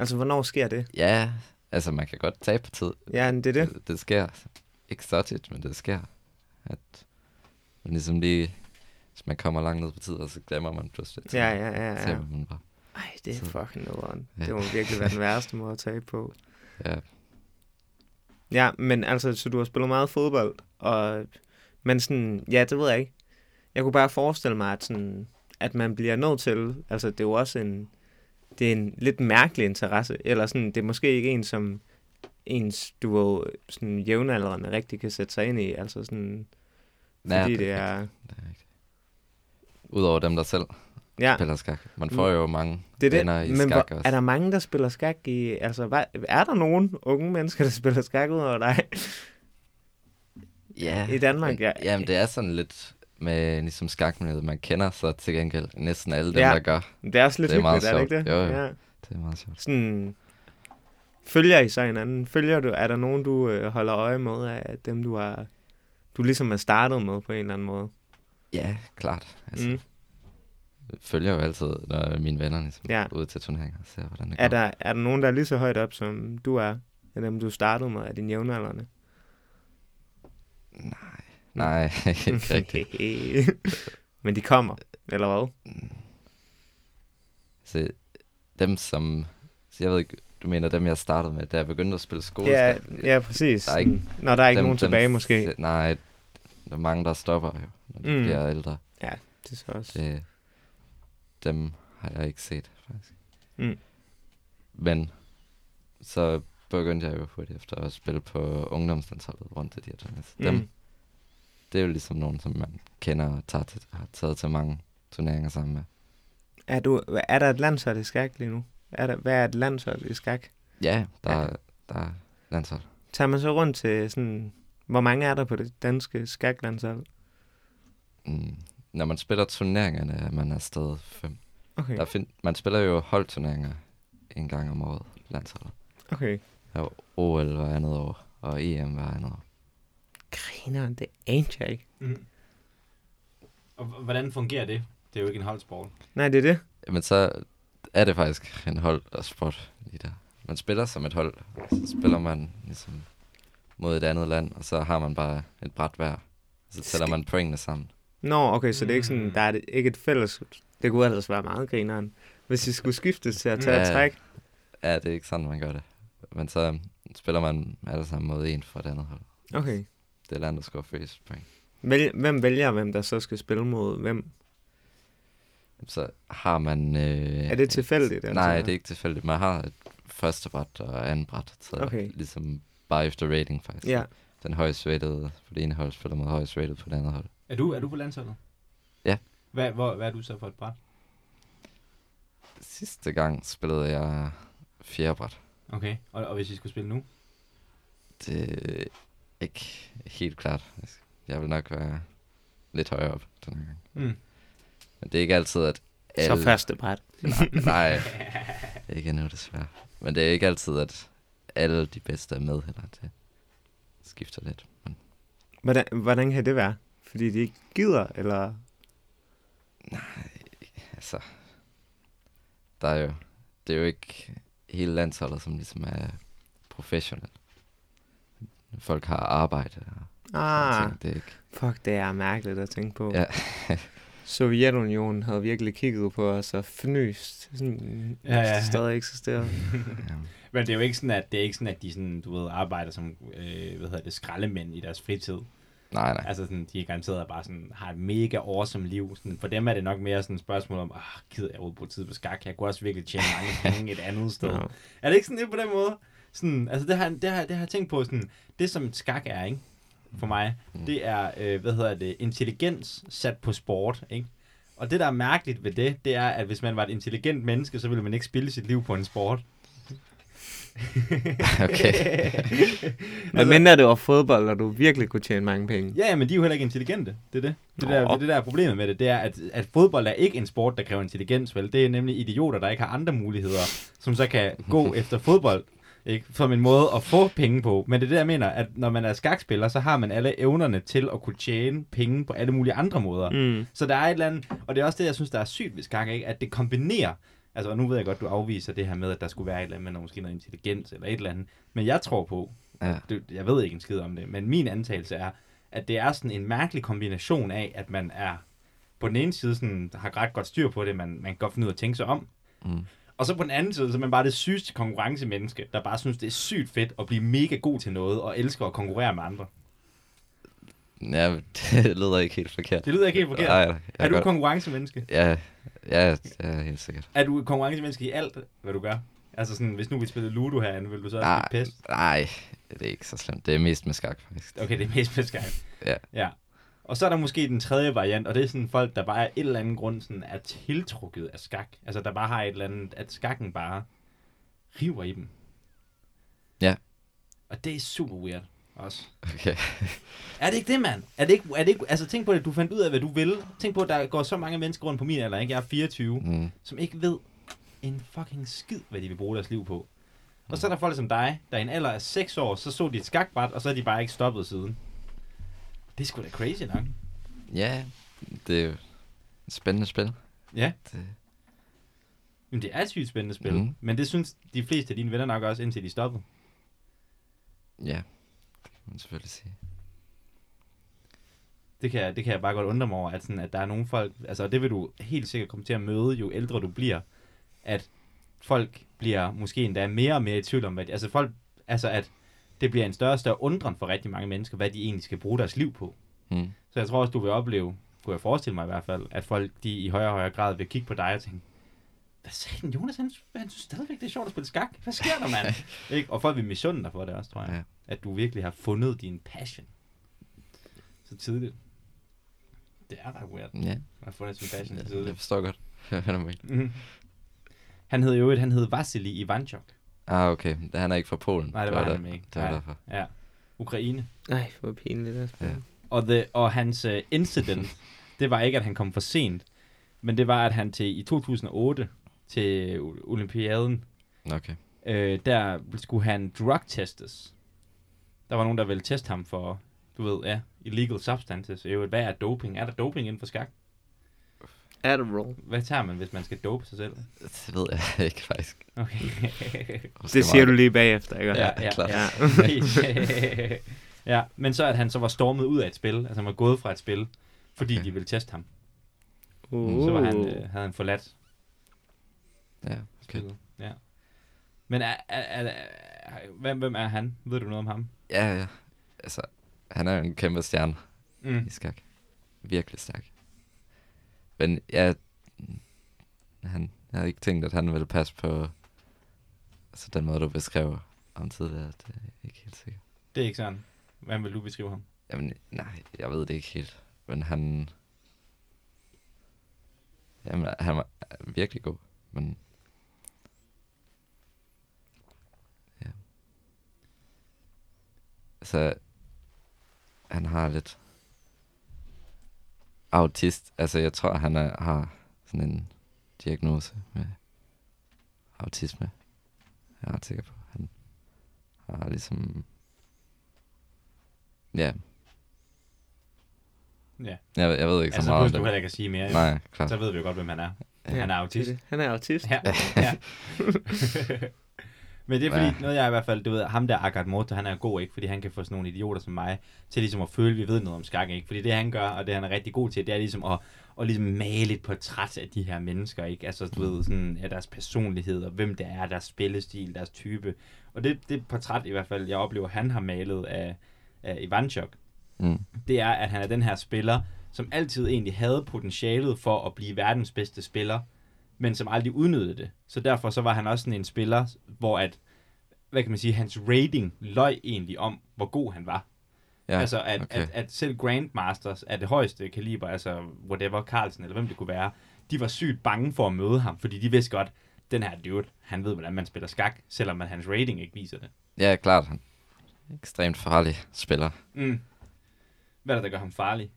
Speaker 1: Altså, hvornår sker det?
Speaker 3: Ja, altså man kan godt tabe på tid.
Speaker 1: Ja, men det er det.
Speaker 3: Det, det sker. Ikke så tit, men det sker. At man ligesom lige, hvis man kommer langt ned på tid, og så glemmer man pludselig tid.
Speaker 1: Ja, ja, ja,
Speaker 3: Så
Speaker 1: ja.
Speaker 3: taber man bare.
Speaker 1: Ej, det er
Speaker 3: Så-
Speaker 1: fucking nederen.
Speaker 3: Ja.
Speaker 1: Det må virkelig være den værste måde at tage på.
Speaker 3: Ja,
Speaker 1: Ja, men altså, så du har spillet meget fodbold, og, men sådan, ja, det ved jeg ikke. Jeg kunne bare forestille mig, at, sådan, at man bliver nødt til, altså det er jo også en, det er en lidt mærkelig interesse, eller sådan, det er måske ikke en, som ens, du ved, sådan jævnaldrende rigtig kan sætte sig ind i, altså sådan,
Speaker 3: Ja,
Speaker 1: fordi
Speaker 3: det er
Speaker 1: det er,
Speaker 3: det er rigtigt. Udover dem, der selv
Speaker 1: ja, Mm.
Speaker 3: spiller skak. Man får jo mange
Speaker 1: det er
Speaker 3: venner
Speaker 1: det,
Speaker 3: i
Speaker 1: men
Speaker 3: skak
Speaker 1: hvor,
Speaker 3: også.
Speaker 1: er der mange, der spiller skak i, altså, hvad, er der nogen unge mennesker, der spiller skak ud over dig?
Speaker 3: Ja.
Speaker 1: I Danmark,
Speaker 3: men-
Speaker 1: ja.
Speaker 3: Jamen, det er sådan lidt med ligesom skakmiljøet. Man kender så til gengæld næsten alle dem,
Speaker 1: Ja.
Speaker 3: ja. der gør.
Speaker 1: Det er også lidt
Speaker 3: Det er meget
Speaker 1: hyggeligt, er det ikke
Speaker 3: sjovt.
Speaker 1: det?
Speaker 3: Jo, jo.
Speaker 1: Ja.
Speaker 3: Det er meget sjovt.
Speaker 1: sådan, følger I så hinanden? Følger du, er der nogen, du øh, holder øje med af dem, du har, du ligesom er startet med på en eller anden måde?
Speaker 3: Ja, klart. Altså,
Speaker 1: Mm.
Speaker 3: mm. følger jo altid, når mine venner ligesom,
Speaker 1: Ja.
Speaker 3: ja. ude til turneringer og ser, hvordan det
Speaker 1: Er
Speaker 3: går.
Speaker 1: der, er der nogen, der er lige så højt op, som du er? Af dem, du startede med, af dine jævnaldrende?
Speaker 3: Nej, ikke rigtigt.
Speaker 1: Men de kommer. Eller hvad?
Speaker 3: Så dem, som... Så jeg ved ikke, du mener dem, jeg startede med, da jeg begyndte at spille skole.
Speaker 1: Ja, ja, præcis.
Speaker 3: Der er ikke-
Speaker 1: Sådan, Når der er ikke nogen tilbage, måske.
Speaker 3: Nej, der er mange, der stopper jo, når de
Speaker 1: Mm.
Speaker 3: mm. bliver ældre.
Speaker 1: Det er så også.
Speaker 3: Det, øh, dem har jeg ikke set, faktisk.
Speaker 1: Mm.
Speaker 3: Men så begyndte jeg jo hurtigt efter at spille på ungdomslandsholdet rundt til de her turneringer. Dem,
Speaker 1: Mm.
Speaker 3: det er jo ligesom nogen, som man kender og tager til, har taget til mange turneringer sammen med.
Speaker 1: Er, du, er der et landshold i skak lige nu? Er der, hvad er et landshold i skak?
Speaker 3: Ja, der,
Speaker 1: Ja.
Speaker 3: ja. der er landshold.
Speaker 1: Tager man så rundt til sådan... Hvor mange er der på det danske skaklandshold?
Speaker 3: Mm. Når man spiller turneringerne, er man afsted fem.
Speaker 1: Okay,
Speaker 3: Der find, man spiller jo holdturneringer en gang om året, landsholdet.
Speaker 1: okay.
Speaker 3: Der er OL hver andet år, og EM hver andet år.
Speaker 1: Griner, det anede jeg ikke.
Speaker 2: Mm. Og h- hvordan fungerer det? Det er jo ikke en holdsport.
Speaker 1: Nej, det er det.
Speaker 3: Men så er det faktisk en hold og sport lige der. Man spiller som et hold, så spiller man ligesom mod et andet land, og så har man bare et bræt hver. Så tæller man pointene sammen.
Speaker 1: Nå, okay, så det er ikke sådan,
Speaker 2: Mm.
Speaker 1: der er det- ikke et fælles... Det kunne ellers være meget grineren, hvis vi skulle skiftes til at tage
Speaker 3: Ja.
Speaker 1: et træk.
Speaker 3: Ja, det er ikke sådan, man gør det. Men så øhm, spiller man alle sammen mod en fra et andet hold.
Speaker 1: Okay.
Speaker 3: Det land, der scorer flest point.
Speaker 1: Vælg, hvem vælger, hvem der så skal spille mod hvem?
Speaker 3: Så har man... Øh,
Speaker 1: Er det tilfældigt? altså?
Speaker 3: Nej, det er ikke tilfældigt. Man har et første bræt og anden bræt. Så
Speaker 1: Okay.
Speaker 3: ligesom bare efter rating, faktisk.
Speaker 1: Ja.
Speaker 3: Den højst rated på det ene hold spiller mod højst rated på det andet hold.
Speaker 2: Er du, er du på landsholdet?
Speaker 3: Ja.
Speaker 2: Hvad, hvor, hvad er du så for et bræt?
Speaker 3: Sidste gang spillede jeg fjerde bræt.
Speaker 2: Okay. Og, og hvis I skulle spille nu?
Speaker 3: Det er ikke helt klart. Jeg vil nok være lidt højere op den her gang.
Speaker 2: Mm.
Speaker 3: Men det er ikke altid, at alle...
Speaker 1: Så første bræt.
Speaker 3: Nej, ikke endnu desværre. Men det er ikke altid, at alle de bedste er med heller. Det skifter lidt. Men
Speaker 1: Hvordan, hvordan kan det være? Fordi de ikke gider, eller...
Speaker 3: altså, der er jo, det er jo ikke hele landsholdet, som ligesom er professionel. Folk har arbejde og sådan
Speaker 1: Ah,
Speaker 3: ting. Det er ikke...
Speaker 1: fuck, det er mærkeligt at tænke på.
Speaker 3: Ja.
Speaker 1: Sovjetunionen havde virkelig kigget på os og fnyst. Sådan,
Speaker 2: Ja,
Speaker 1: ja,
Speaker 2: ja.
Speaker 1: ja. stadig eksisterer.
Speaker 3: Um,
Speaker 2: Men det er jo ikke sådan, at, det er ikke sådan, at de sådan, du ved, arbejder som øh, hvad hedder det, skraldemænd i deres fritid.
Speaker 3: nej, nej.
Speaker 2: Altså sådan, de er garanteret bare sådan, har et mega awesome liv. Sådan, for dem er det nok mere sådan et spørgsmål om, ah, gider jeg overhovedet bruge tid på skak? Jeg kunne også virkelig tjene mange penge et andet sted.
Speaker 1: Nå.
Speaker 2: Er det ikke sådan lidt på den måde? Sådan, altså det har, det, har, det har jeg tænkt på, sådan, det som skak er, ikke? For
Speaker 3: Mm.
Speaker 2: mig, det er, øh, hvad hedder det, intelligens sat på sport, ikke? Og det, der er mærkeligt ved det, det er, at hvis man var et intelligent menneske, så ville man ikke spille sit liv på en sport.
Speaker 3: Okay.
Speaker 1: Men mindre det var fodbold, og du virkelig kunne tjene mange penge.
Speaker 2: Ja, ja, men de er jo heller ikke intelligente. Det er det. Det,
Speaker 1: Nå.
Speaker 2: der, det, det der er problemet med det, det er, at, at fodbold er ikke en sport, der kræver intelligens, vel? Det er nemlig idioter, der ikke har andre muligheder, som så kan gå efter fodbold, ikke? Som en måde at få penge på. Men det er det, jeg mener, at når man er skakspiller, så har man alle evnerne til at kunne tjene penge på alle mulige andre måder.
Speaker 1: Mm.
Speaker 2: Så der er et eller andet, og det er også det, jeg synes, der er sygt ved skak, ikke? at det kombinerer, altså og nu ved jeg godt, du afviser det her med, at der skulle være et eller andet med noget, måske noget intelligens eller et eller andet, men jeg tror på,
Speaker 3: Ja.
Speaker 2: det, jeg ved ikke en skid om det, men min antagelse er, at det er sådan en mærkelig kombination af, at man er på den ene side sådan, har ret godt styr på det, man, man kan godt finde ud af at tænke sig om,
Speaker 3: Mm.
Speaker 2: og så på den anden side, så er man bare det sygeste konkurrencemenneske, der bare synes, det er sygt fedt at blive mega god til noget, og elsker at konkurrere med andre.
Speaker 3: Ja, men det lyder ikke helt forkert.
Speaker 2: Det lyder ikke helt forkert.
Speaker 3: Nej, nej. Jeg
Speaker 2: Er du et
Speaker 3: godt-
Speaker 2: konkurrencemenneske?
Speaker 3: Ja, ja, ja, helt sikkert.
Speaker 2: Er du et konkurrencemenneske i alt, hvad du gør? Altså sådan, hvis nu vi spillede Ludo herinde, vil du så også
Speaker 3: Nej,
Speaker 2: blive pest?
Speaker 3: nej, det er ikke så slemt. Det er mest med skak, faktisk.
Speaker 2: Okay, det er mest pest gang.
Speaker 3: Ja.
Speaker 2: ja. Og så er der måske den tredje variant, og det er sådan folk, der bare af et eller andet grund sådan er tiltrukket af skak. Altså der bare har et eller andet, at skakken bare river i dem.
Speaker 3: Ja.
Speaker 2: Og det er super weird også.
Speaker 3: Okay.
Speaker 2: Er det ikke det, mand? Er det ikke, er det ikke, altså tænk på det, du fandt ud af, hvad du vil. Tænk på, at der går så mange mennesker rundt på min alder, ikke? Jeg er 24.
Speaker 3: Mm.
Speaker 2: som ikke ved en fucking skid, hvad de vil bruge deres liv på. Og så er der folk som dig, der i en alder af 6 år, så så de et skakbræt, og så er de bare ikke stoppet siden. Det er sgu da crazy nok.
Speaker 3: Ja, det er jo et spændende spil.
Speaker 2: Ja.
Speaker 3: Det,
Speaker 2: Men det er et sygt spændende spil. Mm.
Speaker 3: Mhm.
Speaker 2: Men det synes de fleste af dine venner nok også, indtil de stoppede.
Speaker 3: ja, det kan man selvfølgelig sige.
Speaker 2: det kan, jeg, det kan jeg bare godt undre mig over, at, sådan, at der er nogle folk, altså og det vil du helt sikkert komme til at møde, jo ældre du bliver, at folk bliver måske endda mere og mere i tvivl om, hvad de, altså folk, altså at det bliver en større og større undren for rigtig mange mennesker, hvad de egentlig skal bruge deres liv på.
Speaker 3: Mm.
Speaker 2: Så jeg tror også, du vil opleve, kunne jeg forestille mig i hvert fald, at folk de i højere og højere grad vil kigge på dig og tænke, hvad sagde den Jonas? Han, han synes stadigvæk, det er sjovt at spille skak. Hvad sker der, mand? Ikke? Og folk vil misunde dig for det også, tror jeg. Ja. At du virkelig har fundet din passion så tidligt. Det er ret weird.
Speaker 3: Ja,
Speaker 2: Man har fundet sin passion så
Speaker 3: jeg, jeg
Speaker 2: tidligt.
Speaker 3: forstår godt. Fænomen.
Speaker 2: Mhm. Han hed jo et, han hed Vasily Ivanchuk.
Speaker 3: ah, okay. Han er ikke fra Polen.
Speaker 2: Nej, det var han
Speaker 3: der-
Speaker 2: ikke.
Speaker 3: Det var
Speaker 2: Nej.
Speaker 3: derfor.
Speaker 2: Ja. Ukraine.
Speaker 1: Nej, hvor pinligt. altså. Det er.
Speaker 2: Og, the, og hans uh, incident, det var ikke, at han kom for sent, men det var, at han til i 2008 til o- Olympiaden,
Speaker 3: Nå, Okay.
Speaker 2: øh, der skulle han drug-testes. Der var nogen, der ville teste ham for, du ved, ja, illegal substances. I øvrigt, Hvad er doping? Er der doping inden for skak?
Speaker 1: Adderall.
Speaker 2: Hvad tager man, hvis man skal dope sig selv?
Speaker 3: Det ved jeg ikke faktisk.
Speaker 2: Okay.
Speaker 1: Det siger du lige bagefter, ikke?
Speaker 2: ja, ja,
Speaker 3: klart.
Speaker 2: ja. ja, men så at han så var stormet ud af et spil, altså han var gået fra et spil, fordi
Speaker 3: Okay.
Speaker 2: de ville teste ham.
Speaker 1: Uh.
Speaker 2: Så var han, øh, havde han forladt
Speaker 3: Ja, okay.
Speaker 2: spillet. Ja. Men er, er, er, er, hvem, hvem er han? Ved du noget om ham?
Speaker 3: Ja, ja. Altså, han er jo en kæmpe stjerne
Speaker 2: Mm.
Speaker 3: i skak. Virkelig stærk. Men jeg, han, jeg havde ikke tænkt, at han ville passe på altså, den måde, du beskrev om tidligere. Det er jeg ikke helt sikker.
Speaker 2: Det er ikke sådan. Hvordan vil du beskrive ham?
Speaker 3: Jamen, nej, jeg ved det ikke helt. Men han... Jamen, han var virkelig god. Men ja. Så han har lidt autist. Altså, jeg tror, han er, har sådan en diagnose med autisme. Jeg er ret sikker på. Han har ligesom... Ja,
Speaker 2: Ja.
Speaker 3: jeg, jeg ved ikke så
Speaker 2: Altså,
Speaker 3: meget
Speaker 2: plus du heller ikke at sige mere.
Speaker 3: Nej, klart.
Speaker 2: Så ved vi jo godt, hvem han er.
Speaker 3: Ja,
Speaker 2: han er
Speaker 1: det er
Speaker 2: autist.
Speaker 1: det. Han er autist.
Speaker 2: Ja. ja. Men det er fordi,
Speaker 3: Ja.
Speaker 2: noget jeg i hvert fald, du ved, ham der Agat Morto, han er god, ikke? Fordi han kan få sådan nogle idioter som mig til ligesom at føle, at vi ved noget om skak, ikke? Fordi det han gør, og det han er rigtig god til, det er ligesom at, at ligesom male et portræt af de her mennesker, ikke? Altså, du ved, sådan, af deres personlighed, og hvem det er, deres spillestil, deres type. Og det, det portræt i hvert fald, jeg oplever, han har malet af, af Ivanchuk,
Speaker 3: Mm.
Speaker 2: det er, at han er den her spiller, som altid egentlig havde potentialet for at blive verdens bedste spiller, men som aldrig udnyttede det. Så derfor så var han også sådan en spiller, hvor at, hvad kan man sige, hans rating løj egentlig om, hvor god han var.
Speaker 3: Ja,
Speaker 2: altså at,
Speaker 3: okay.
Speaker 2: at, at selv Grandmasters af det højeste kaliber, altså whatever, Carlsen eller hvem det kunne være, de var sygt bange for at møde ham, fordi de vidste godt, den her dude, han ved, hvordan man spiller skak, selvom at hans rating ikke viser det.
Speaker 3: ja, klart. Han er en ekstremt farlig spiller.
Speaker 2: Mm. Hvad er det, der gør ham farlig?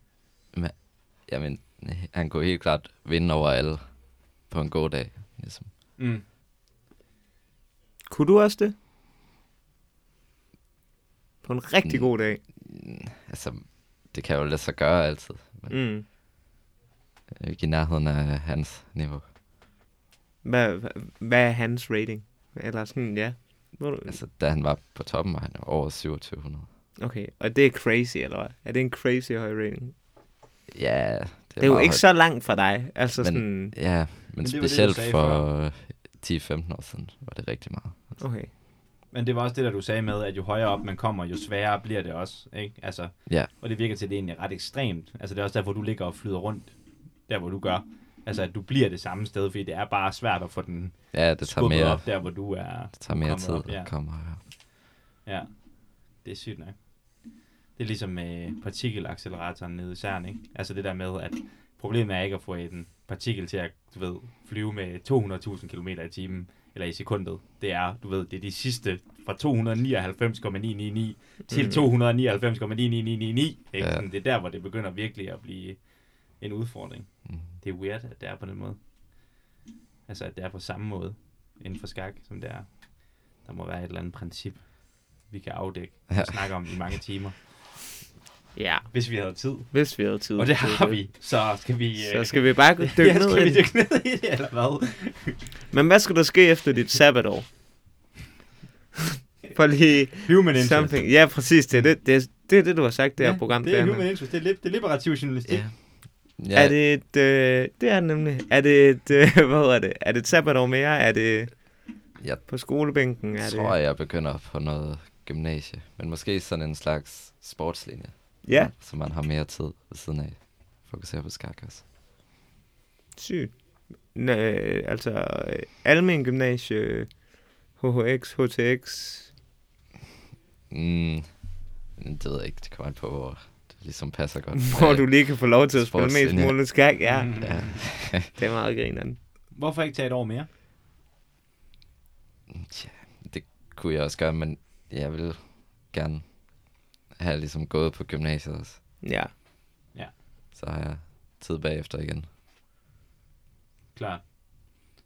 Speaker 3: Jamen, han kunne helt klart vinde over alle på en god dag. Ligesom.
Speaker 2: Mm.
Speaker 1: Kunne du også det? På en rigtig
Speaker 3: Mm.
Speaker 1: god dag.
Speaker 3: Altså, det kan jo lade sig gøre altid. Men
Speaker 1: Mm.
Speaker 3: jeg er ikke i nærheden af hans niveau.
Speaker 1: Hvad, hvad- hvad er hans rating? Eller sådan, ja. Ved du-
Speaker 3: Altså, da han var på toppen, var han jo over 2700.
Speaker 1: Okay, og det er crazy, eller hvad? Er det en crazy høj rating? Det
Speaker 3: Ja, det er,
Speaker 1: er, det er jo
Speaker 3: meget
Speaker 1: ikke
Speaker 3: højt.
Speaker 1: så langt fra dig. Altså
Speaker 3: Men-
Speaker 1: sådan,
Speaker 3: Ja,
Speaker 2: Men
Speaker 3: men, men
Speaker 2: det var det, du
Speaker 3: specielt
Speaker 2: sagde
Speaker 3: det, for øh, 10-15 år siden var det rigtig meget.
Speaker 1: okay.
Speaker 2: Men det var også det, der du sagde med, at jo højere op man kommer, jo sværere bliver det også, ikke? Altså,
Speaker 3: Ja.
Speaker 2: Og det virker til, at det er egentlig ret ekstremt. Altså, det er også derfor, du ligger og flyder rundt, der hvor du gør. Altså, at du bliver det samme sted, fordi det er bare svært at få den
Speaker 3: Ja, det tager
Speaker 2: skubbet
Speaker 3: mere,
Speaker 2: op der, hvor du er.
Speaker 3: det tager mere
Speaker 2: kommet
Speaker 3: tid
Speaker 2: op, ja.
Speaker 3: at komme højere op.
Speaker 2: Ja, det er sygt nok. Det er ligesom med partikelacceleratoren nede i CERN, ikke? Altså det der med, at problemet er ikke at få en partikel til at, du ved, flyve med 200.000 km i timen, eller i sekundet. Det er, du ved, det er de sidste fra 299,999 til 299,99999. Ikke?
Speaker 3: Mm. Ja.
Speaker 2: Sådan, Det er der, hvor det begynder virkelig at blive en udfordring.
Speaker 3: Mm.
Speaker 2: Det er weird, at det er på den måde. Altså, at det er på samme måde inden for skak, som det er. Der må være et eller andet princip, vi kan afdække og
Speaker 3: Ja.
Speaker 2: snakke om i mange timer.
Speaker 1: Ja,
Speaker 2: Hvis vi havde tid.
Speaker 1: hvis vi havde tid.
Speaker 2: Og det
Speaker 1: til
Speaker 2: har vi. Så skal vi...
Speaker 1: Så skal vi bare dykke
Speaker 2: dykke, ja,
Speaker 1: ned
Speaker 2: skal
Speaker 1: i
Speaker 2: vi
Speaker 1: det.
Speaker 2: dykke ned i det, eller hvad?
Speaker 1: Men hvad skal der ske efter dit sabbatår? For lige
Speaker 2: Human interest.
Speaker 1: something. Ja, præcis. Det er det, det, er- Det er det, du har sagt, det her program.
Speaker 2: Det er
Speaker 1: Bjarne.
Speaker 2: human interest. Det er, li- det er liberativ journalistik.
Speaker 3: Ja.
Speaker 1: Ja.
Speaker 3: ja
Speaker 1: Er det et, øh, det er det nemlig. Er det et, øh, hvad hedder det? Er det et sabbatår mere? Er det
Speaker 3: Ja.
Speaker 1: på skolebænken? Er
Speaker 3: jeg tror,
Speaker 1: det...
Speaker 3: jeg begynder på noget gymnasie. Men måske sådan en slags sportslinje,
Speaker 1: Ja,
Speaker 3: så man har mere tid ved siden af. Fokusere på skak også.
Speaker 1: sygt. Nå, øh, altså, øh, almen gymnasie, HHX, HTX,
Speaker 3: Mm, det ved jeg ikke. Det kommer an på, hvor det ligesom passer godt.
Speaker 1: hvor du lige kan få lov til at spille mest
Speaker 3: Sportslinje.
Speaker 1: muligt skak. Ja,
Speaker 2: Mm.
Speaker 3: Ja,
Speaker 1: det er meget grineren.
Speaker 2: Hvorfor ikke tage et år mere?
Speaker 3: tja, det kunne jeg også gøre, men jeg vil gerne have ligesom gået på gymnasiet også.
Speaker 1: Ja,
Speaker 3: Så har jeg tid bagefter igen.
Speaker 2: Klart.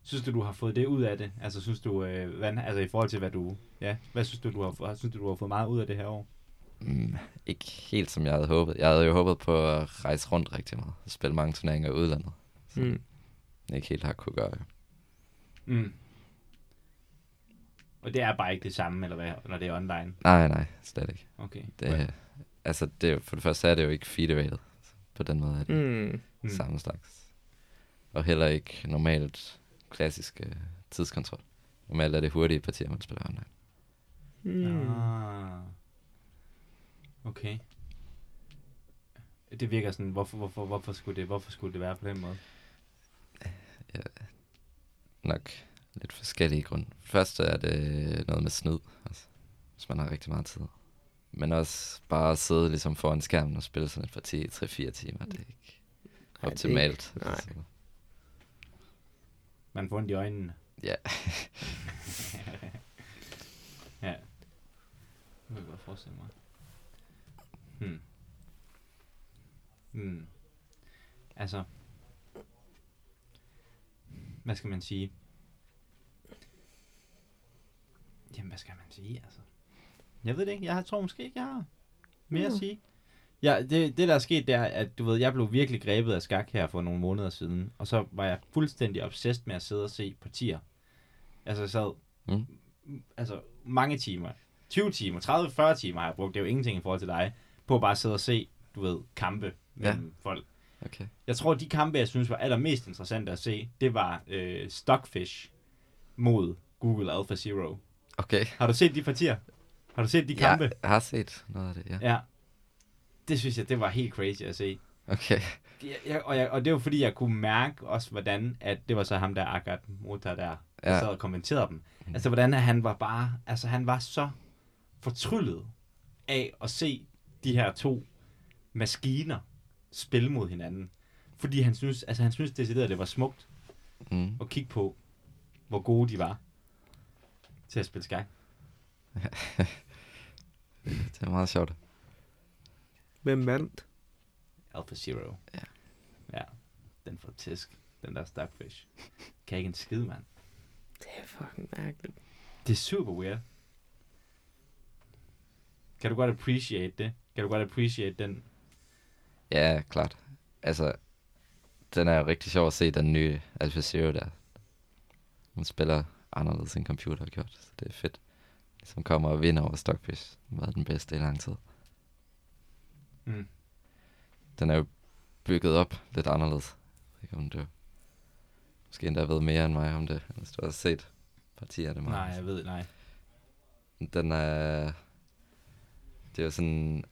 Speaker 2: Synes du, du har fået det ud af det? Altså, synes du, øh, hvad, altså i forhold til, hvad du... Ja, hvad synes du, du har, fået- synes du, du har fået meget ud af det her år?
Speaker 3: Mm, ikke helt som jeg havde håbet. Jeg havde jo håbet på at rejse rundt rigtig meget. og Spille mange turneringer i udlandet. Så
Speaker 1: mm.
Speaker 3: jeg ikke helt har kunne gøre.
Speaker 2: Mm. Og det er bare ikke det samme, eller hvad, når det er online.
Speaker 3: Nej, nej, slet ikke.
Speaker 2: Okay.
Speaker 3: Det, Altså, det, er jo- for det første er det jo ikke federated. På den måde er det
Speaker 1: Mm.
Speaker 3: mm. samme slags. Og heller ikke normalt klassisk øh, tidskontrol. Normalt er det hurtige partier, man spiller online.
Speaker 1: Mm.
Speaker 2: Ah. Okay. Det virker sådan, hvorfor, hvorfor, hvorfor, skulle det, hvorfor skulle det være på den måde?
Speaker 3: Nok lidt forskellige grunde. For det første er det noget med snyd, altså, hvis man har rigtig meget tid. Men også bare at sidde ligesom foran skærmen og spille sådan et parti i 3-4 timer, det er ikke
Speaker 1: er
Speaker 3: optimalt.
Speaker 1: ikke- nej.
Speaker 3: Altså,
Speaker 2: Man får ondt i øjnene.
Speaker 3: Ja.
Speaker 2: ja. Det kan jeg godt forestille mig. Hmm. Hmm. Altså. Hvad skal man sige? Jamen, hvad skal man sige, altså? Jeg ved det ikke. Jeg tror måske ikke, jeg har mere at sige. Ja, det, det der er sket, det er, at du ved, jeg blev virkelig grebet af skak her for nogle måneder siden, og så var jeg fuldstændig obsessed med at sidde og se partier. Altså, jeg sad
Speaker 3: Mm.
Speaker 2: mm. altså, mange timer, 20 timer, 30-40 timer har jeg brugt, det er jo ingenting i forhold til dig, på at bare sidde og se, du ved, kampe mellem ja. folk.
Speaker 3: okay.
Speaker 2: Jeg tror, de kampe, jeg synes var allermest interessante at se, det var øh, Stockfish mod Google Alpha Zero.
Speaker 3: Okay.
Speaker 2: Har du set de partier? Har du set de kampe?
Speaker 3: Jeg har set noget af det, ja.
Speaker 2: Ja. Det synes jeg, det var helt crazy at se.
Speaker 3: Okay.
Speaker 2: Jeg, jeg, og, jeg, og det var fordi, jeg kunne mærke også, hvordan, at det var så ham der, Agat Mota der, der ja.
Speaker 3: Ja.
Speaker 2: sad og kommenterede dem. Altså, hvordan at han var bare, altså han var så fortryllet af at se de her to maskiner spille mod hinanden. Fordi han synes, altså han synes decideret, at det var smukt
Speaker 3: Mm.
Speaker 2: at kigge på, hvor gode de var til at spille skak.
Speaker 3: Det er meget sjovt.
Speaker 1: Hvem vandt?
Speaker 2: Alpha Zero.
Speaker 3: Ja.
Speaker 2: Ja, den får tæsk, den der Starfish. Kan ikke en skid, mand.
Speaker 1: Det er fucking mærkeligt.
Speaker 2: Det er super weird. Kan du godt appreciate det? Kan du godt appreciate den?
Speaker 3: Ja, klart. Altså, den er jo rigtig sjov at se, den nye Alpha Zero der. Hun spiller anderledes end computer har gjort, så det er fedt. Som kommer og vinder over Stockfish. Den var den bedste i lang tid.
Speaker 2: Mm.
Speaker 3: Den er jo bygget op lidt anderledes. Jeg ved ikke om du... Måske endda ved mere end mig om det, hvis du har set partier af det
Speaker 2: Nej, jeg ved, nej.
Speaker 3: den er... Det er jo sådan...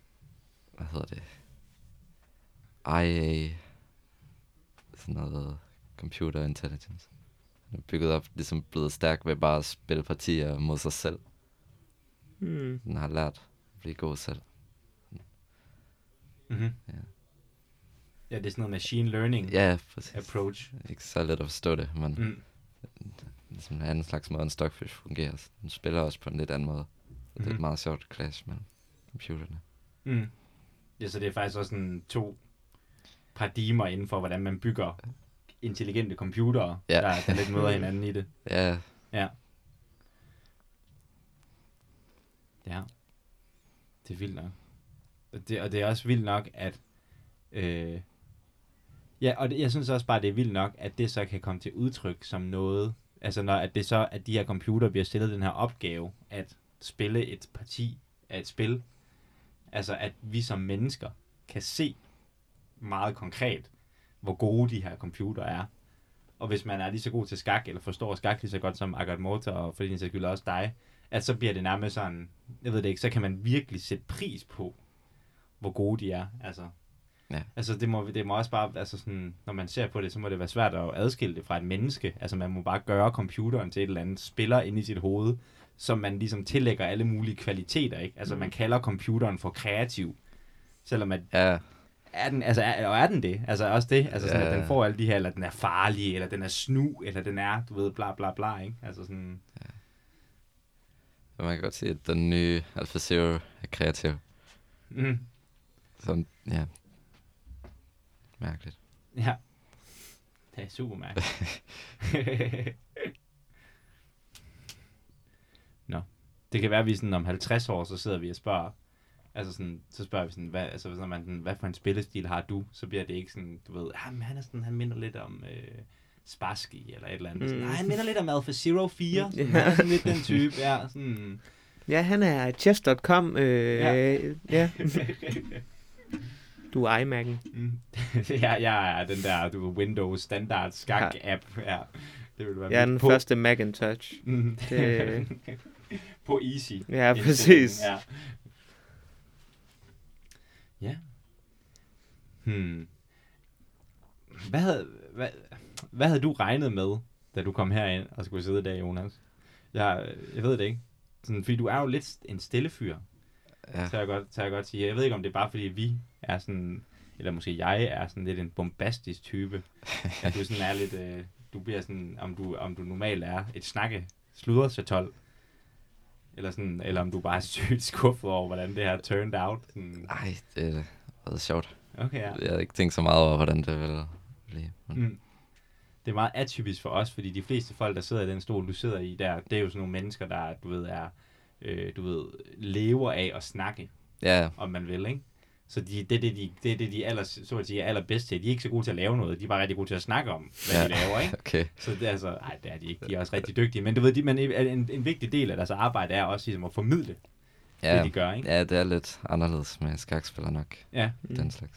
Speaker 3: Hvad hedder det? IA... Sådan noget... Computer Intelligence. Den er bygget op, ligesom blevet stærk ved bare at spille partier mod sig selv.
Speaker 1: Mm.
Speaker 3: Den har lært at blive god selv.
Speaker 2: Mm-hmm.
Speaker 3: Ja.
Speaker 2: Ja, det er sådan noget machine learning
Speaker 3: Ja, ja, præcis.
Speaker 2: approach.
Speaker 3: Ikke så let at forstå det, men mm.
Speaker 2: Mm.
Speaker 3: ligesom en anden slags måde, en stockfish fungerer. Så Den spiller også på en lidt anden måde. Så det er
Speaker 2: Mhm.
Speaker 3: et meget sjovt clash mellem computerne.
Speaker 2: Mm. Ja, så det er faktisk også sådan to paradigmer inden for, hvordan man bygger intelligente computere,
Speaker 3: Ja.
Speaker 2: der, der lidt møder hinanden i det.
Speaker 3: Ja,
Speaker 2: Ja. Ja. Det er vildt nok. Og det, og det er også vildt nok, at... Øh, ja, og det, jeg synes også bare, det er vildt nok, at det så kan komme til udtryk som noget... Altså, når, at det så, at de her computer bliver stillet den her opgave, at spille et parti af et spil, Altså, at vi som mennesker kan se meget konkret, hvor gode de her computer er. Og hvis man er lige så god til skak, eller forstår skak lige så godt som Agat Morta, og for din sags skyld også dig, at så bliver det nærmest sådan, jeg ved det ikke, så kan man virkelig sætte pris på, hvor gode de er. Altså,
Speaker 3: Ja.
Speaker 2: altså det, må, det må også bare, altså sådan, når man ser på det, så må det være svært at adskille det fra et menneske. Altså man må bare gøre computeren til et eller andet spiller inde i sit hoved, som man ligesom tillægger alle mulige kvaliteter, ikke? Altså
Speaker 3: Mm.
Speaker 2: man kalder computeren for kreativ, selvom at
Speaker 3: Ja,
Speaker 2: er den, altså, er, og er den det? Altså også det, altså sådan, at
Speaker 3: Ja.
Speaker 2: den får alle de her, eller den er farlig, eller den er snu, eller den er, du ved, bla bla bla, ikke? Altså sådan,
Speaker 3: man kan godt se, at den nye AlphaZero er kreativ.
Speaker 2: mm,
Speaker 3: Sådan, ja. Mærkeligt.
Speaker 2: ja. Det er super mærkeligt. Nå. Det kan være, at vi sådan om 50 år, så sidder vi og spørger, altså sådan, så spørger vi sådan, hvad, altså, hvis man, sådan, hvad for en spillestil har du? Så bliver det ikke sådan, du ved, ah, men han, er sådan, han minder lidt om øh, Sparsky eller et eller andet. Mm.
Speaker 1: Mm.
Speaker 2: Nej, han minder lidt om Alpha Zero 4. Sådan,
Speaker 1: Ja.
Speaker 2: han er sådan lidt den type, ja. Sådan.
Speaker 1: Ja, han er chess.com. Øh,
Speaker 2: Ja.
Speaker 1: ja. ja. Du er iMac'en.
Speaker 2: Mm. ja, jeg er den der du, ved, Windows standard skak app. Ja. Det vil være
Speaker 1: Jeg er
Speaker 2: mit
Speaker 1: den
Speaker 2: på.
Speaker 1: første Macintosh.
Speaker 2: Mm.
Speaker 1: Det-
Speaker 2: på easy.
Speaker 1: Ja,
Speaker 2: Indstillingen,
Speaker 1: præcis.
Speaker 2: Ja. ja. Hmm. Hvad havde, hvad, hvad havde du regnet med, da du kom herind og skulle sidde der, Jonas? Jeg, jeg ved det ikke. Sådan, fordi du er jo lidt en stille fyr.
Speaker 3: Ja.
Speaker 2: Så jeg godt, så jeg godt sige, jeg ved ikke, om det er bare fordi vi er sådan, eller måske jeg er sådan lidt en bombastisk type. At du sådan er lidt, øh, du bliver sådan, om du, om du normalt er et snakke sluddersatol. Eller, sådan, eller om du bare er sygt skuffet over, hvordan det her turned out. Sådan,
Speaker 3: Ej, det er været sjovt.
Speaker 2: okay, ja.
Speaker 3: Jeg havde ikke tænkt så meget over, hvordan det ville blive. Men
Speaker 2: Mm. Det er meget atypisk for os, fordi de fleste folk, der sidder i den stol, du sidder i der, det er jo sådan nogle mennesker, der, du ved, er, øh, du ved, lever af at snakke.
Speaker 3: Ja,
Speaker 2: om man vil, ikke? Så de, det er det, de, det, er det, de aller, så at sige, er allerbedst til. De er ikke så gode til at lave noget, de er bare rigtig gode til at snakke om, hvad ja. de
Speaker 3: Ja.
Speaker 2: laver, ikke?
Speaker 3: okay.
Speaker 2: Så det er altså, nej, det er de ikke. De er også rigtig dygtige. Men du ved, de, men øh, en, en vigtig del af deres arbejde er også ligesom, at formidle ja. det,
Speaker 3: Ja,
Speaker 2: de gør, ikke?
Speaker 3: ja, det er lidt anderledes med skakspiller nok.
Speaker 2: Ja.
Speaker 3: mm. den slags.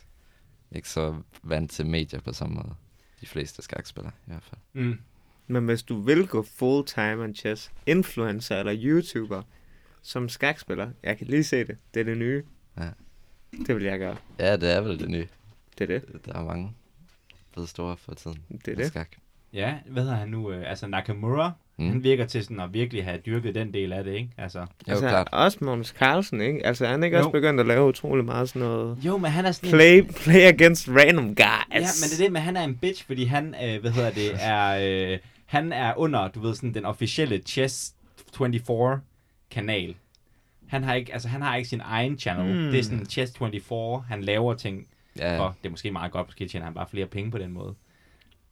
Speaker 3: Ikke så vant til medier på samme måde. De fleste skakspillere i hvert fald.
Speaker 2: Mm.
Speaker 1: Men hvis du vil gå full-time on chess, influencer eller YouTuber, som skakspiller, jeg kan lige se det. Det er det nye.
Speaker 3: Ja.
Speaker 1: Det vil jeg gøre.
Speaker 3: Ja, det er vel det nye.
Speaker 1: Det er det.
Speaker 3: Der er mange blevet store for tiden.
Speaker 1: Det er
Speaker 3: med
Speaker 1: det.
Speaker 3: Skak.
Speaker 2: Ja, hvad hedder han nu? Øh, Altså Nakamura, mm.
Speaker 3: Mm.
Speaker 2: han virker til sådan at virkelig have dyrket den del af det, ikke? Altså,
Speaker 3: Jo,
Speaker 1: altså,
Speaker 3: klart.
Speaker 1: også Magnus Carlsen, ikke? Altså, han er ikke jo.
Speaker 2: Jo.
Speaker 1: også begyndt at lave utrolig meget sådan noget...
Speaker 2: jo, men han er sådan en-
Speaker 1: Play, play against random guys.
Speaker 2: Ja, men det er det med, han er en bitch, fordi han, øh, hvad hedder det, er, øh, han er under, du ved, sådan den officielle Chess24-kanal. Han har ikke, altså han har ikke sin egen channel. Mm.
Speaker 1: Mm.
Speaker 2: Det er sådan Chess24, han laver ting
Speaker 3: Ja,
Speaker 2: for. Det er måske meget godt, måske tjener han bare flere penge på den måde.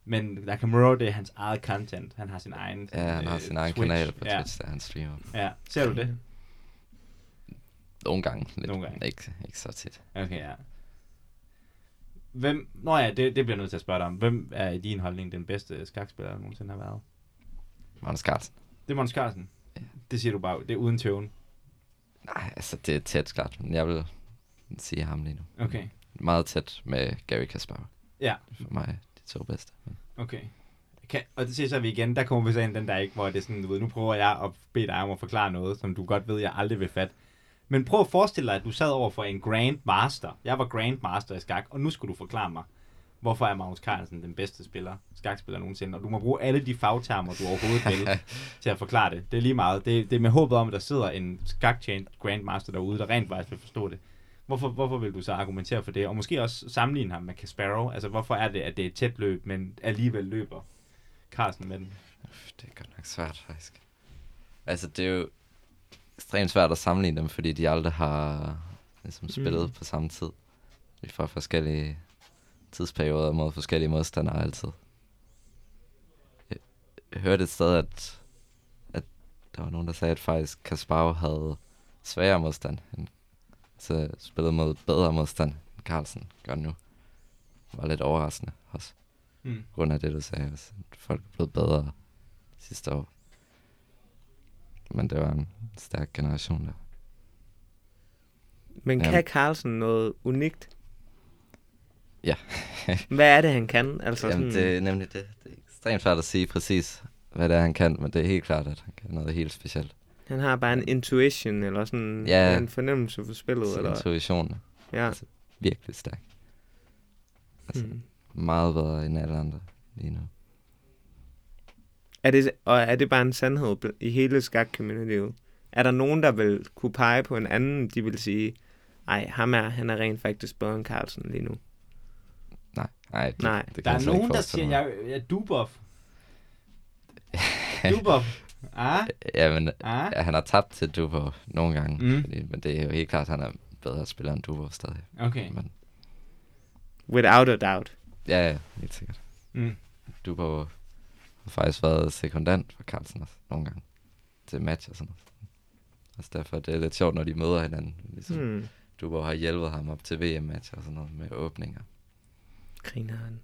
Speaker 2: Men Nakamura, det er hans eget content. Han har sin egen
Speaker 3: ja han har
Speaker 2: øh,
Speaker 3: sin egen
Speaker 2: Twitch.
Speaker 3: kanal på
Speaker 2: ja,
Speaker 3: Twitch, der han streamer.
Speaker 2: ja. Ser du det?
Speaker 3: Nogle gange. Lidt.
Speaker 2: Nogle gange.
Speaker 3: Ikke, ikke så tit.
Speaker 2: Okay, ja. Hvem, nå ja, det, det bliver jeg nødt til at spørge dig om. Hvem er i din holdning den bedste skakspiller, der nogensinde har været?
Speaker 3: Magnus Carlsen.
Speaker 2: Det er Måns Carlsen. Det siger du bare, det er uden tøven.
Speaker 3: Nej, altså det er tæt klart, men jeg vil sige ham lige nu.
Speaker 2: Okay,
Speaker 3: Meget tæt med Gary Kasparov.
Speaker 2: Ja.
Speaker 3: Det er For mig de to bedste. Men
Speaker 2: okay. Kan, og det ser så vi igen, der kommer vi så ind den der ikke, hvor det er sådan, du ved, nu prøver jeg at bede dig om at forklare noget, som du godt ved, jeg aldrig vil fat. Men prøv at forestille dig, at du sad over for en grandmaster. Jeg var grandmaster i skak, og nu skulle du forklare mig, hvorfor er Magnus Carlsen den bedste spiller, skakspiller nogensinde. Og du må bruge alle de fagtermer, du overhovedet vil, til at forklare det. Det er lige meget. Det, det er med håbet om, at der sidder en skakchain grandmaster derude, der rent faktisk vil forstå det. Hvorfor, hvorfor vil du så argumentere for det? Og måske også sammenligne ham med Kasparov. Altså, hvorfor er det, at det er et tæt løb, men alligevel løber Carlsen med den?
Speaker 3: Uff, det er godt nok svært, faktisk. Altså, det er jo ekstremt svært at sammenligne dem, fordi de aldrig har ligesom, spillet mm. på samme tid. Vi får forskellige tidsperioder mod forskellige modstandere altid. Jeg, jeg hørte et sted, at, at der var nogen, der sagde, at faktisk Kasparov havde sværere modstand. Han så spillede mod bedre modstand, end Carlsen gør nu. Det var lidt overraskende også
Speaker 2: Hmm.
Speaker 3: grund af det, du sagde. Også. at Folk er blevet bedre sidste år. Men det var en stærk generation der.
Speaker 1: Men
Speaker 3: Ja.
Speaker 1: kan Carlsen noget unikt?
Speaker 3: Ja.
Speaker 1: Hvad er det, han kan? Altså,
Speaker 3: Jamen,
Speaker 1: sådan,
Speaker 3: det er nemlig det. Det er ekstremt svært at sige præcis, hvad det er, han kan, men det er helt klart, at han kan noget helt specielt.
Speaker 1: Han har bare en intuition, eller sådan
Speaker 3: Ja.
Speaker 1: en fornemmelse for spillet.
Speaker 3: Sin
Speaker 1: Eller,
Speaker 3: intuition
Speaker 1: ja.
Speaker 3: altså, virkelig stærk. Altså,
Speaker 2: Hmm.
Speaker 1: Mm.
Speaker 3: meget bedre end alle andre lige nu.
Speaker 1: Er det, og er det bare en sandhed bl- i hele skak-communityet? Er der nogen, der vil kunne pege på en anden, de vil sige, nej, ham er, han er rent faktisk bedre end Carlsen lige nu.
Speaker 3: Nej, nej. Det,
Speaker 1: Nej.
Speaker 3: det kan
Speaker 2: Der
Speaker 3: jeg
Speaker 2: er
Speaker 3: slet ikke
Speaker 2: nogen, der
Speaker 3: forestille
Speaker 2: siger,
Speaker 3: mig.
Speaker 2: jeg, jeg er Dubov. Dubov. Ah,
Speaker 3: Jamen,
Speaker 2: ah.
Speaker 3: ja, han har tabt til Dubov nogle gange,
Speaker 2: Mm.
Speaker 3: mm. fordi, men det er jo helt klart, at han er en bedre spiller end Dubov stadig.
Speaker 2: Okay.
Speaker 3: Men,
Speaker 1: Without a doubt.
Speaker 3: ja, ja, helt sikkert.
Speaker 2: Mm.
Speaker 3: Dubov har faktisk været sekundant for Carlsen også nogle gange til match og sådan noget. Altså derfor det er lidt sjovt, når de møder hinanden. Ligesom. Mm.
Speaker 1: Hmm.
Speaker 3: Dubov har hjulpet ham op til VM-match og sådan noget med åbninger.
Speaker 1: Griner han.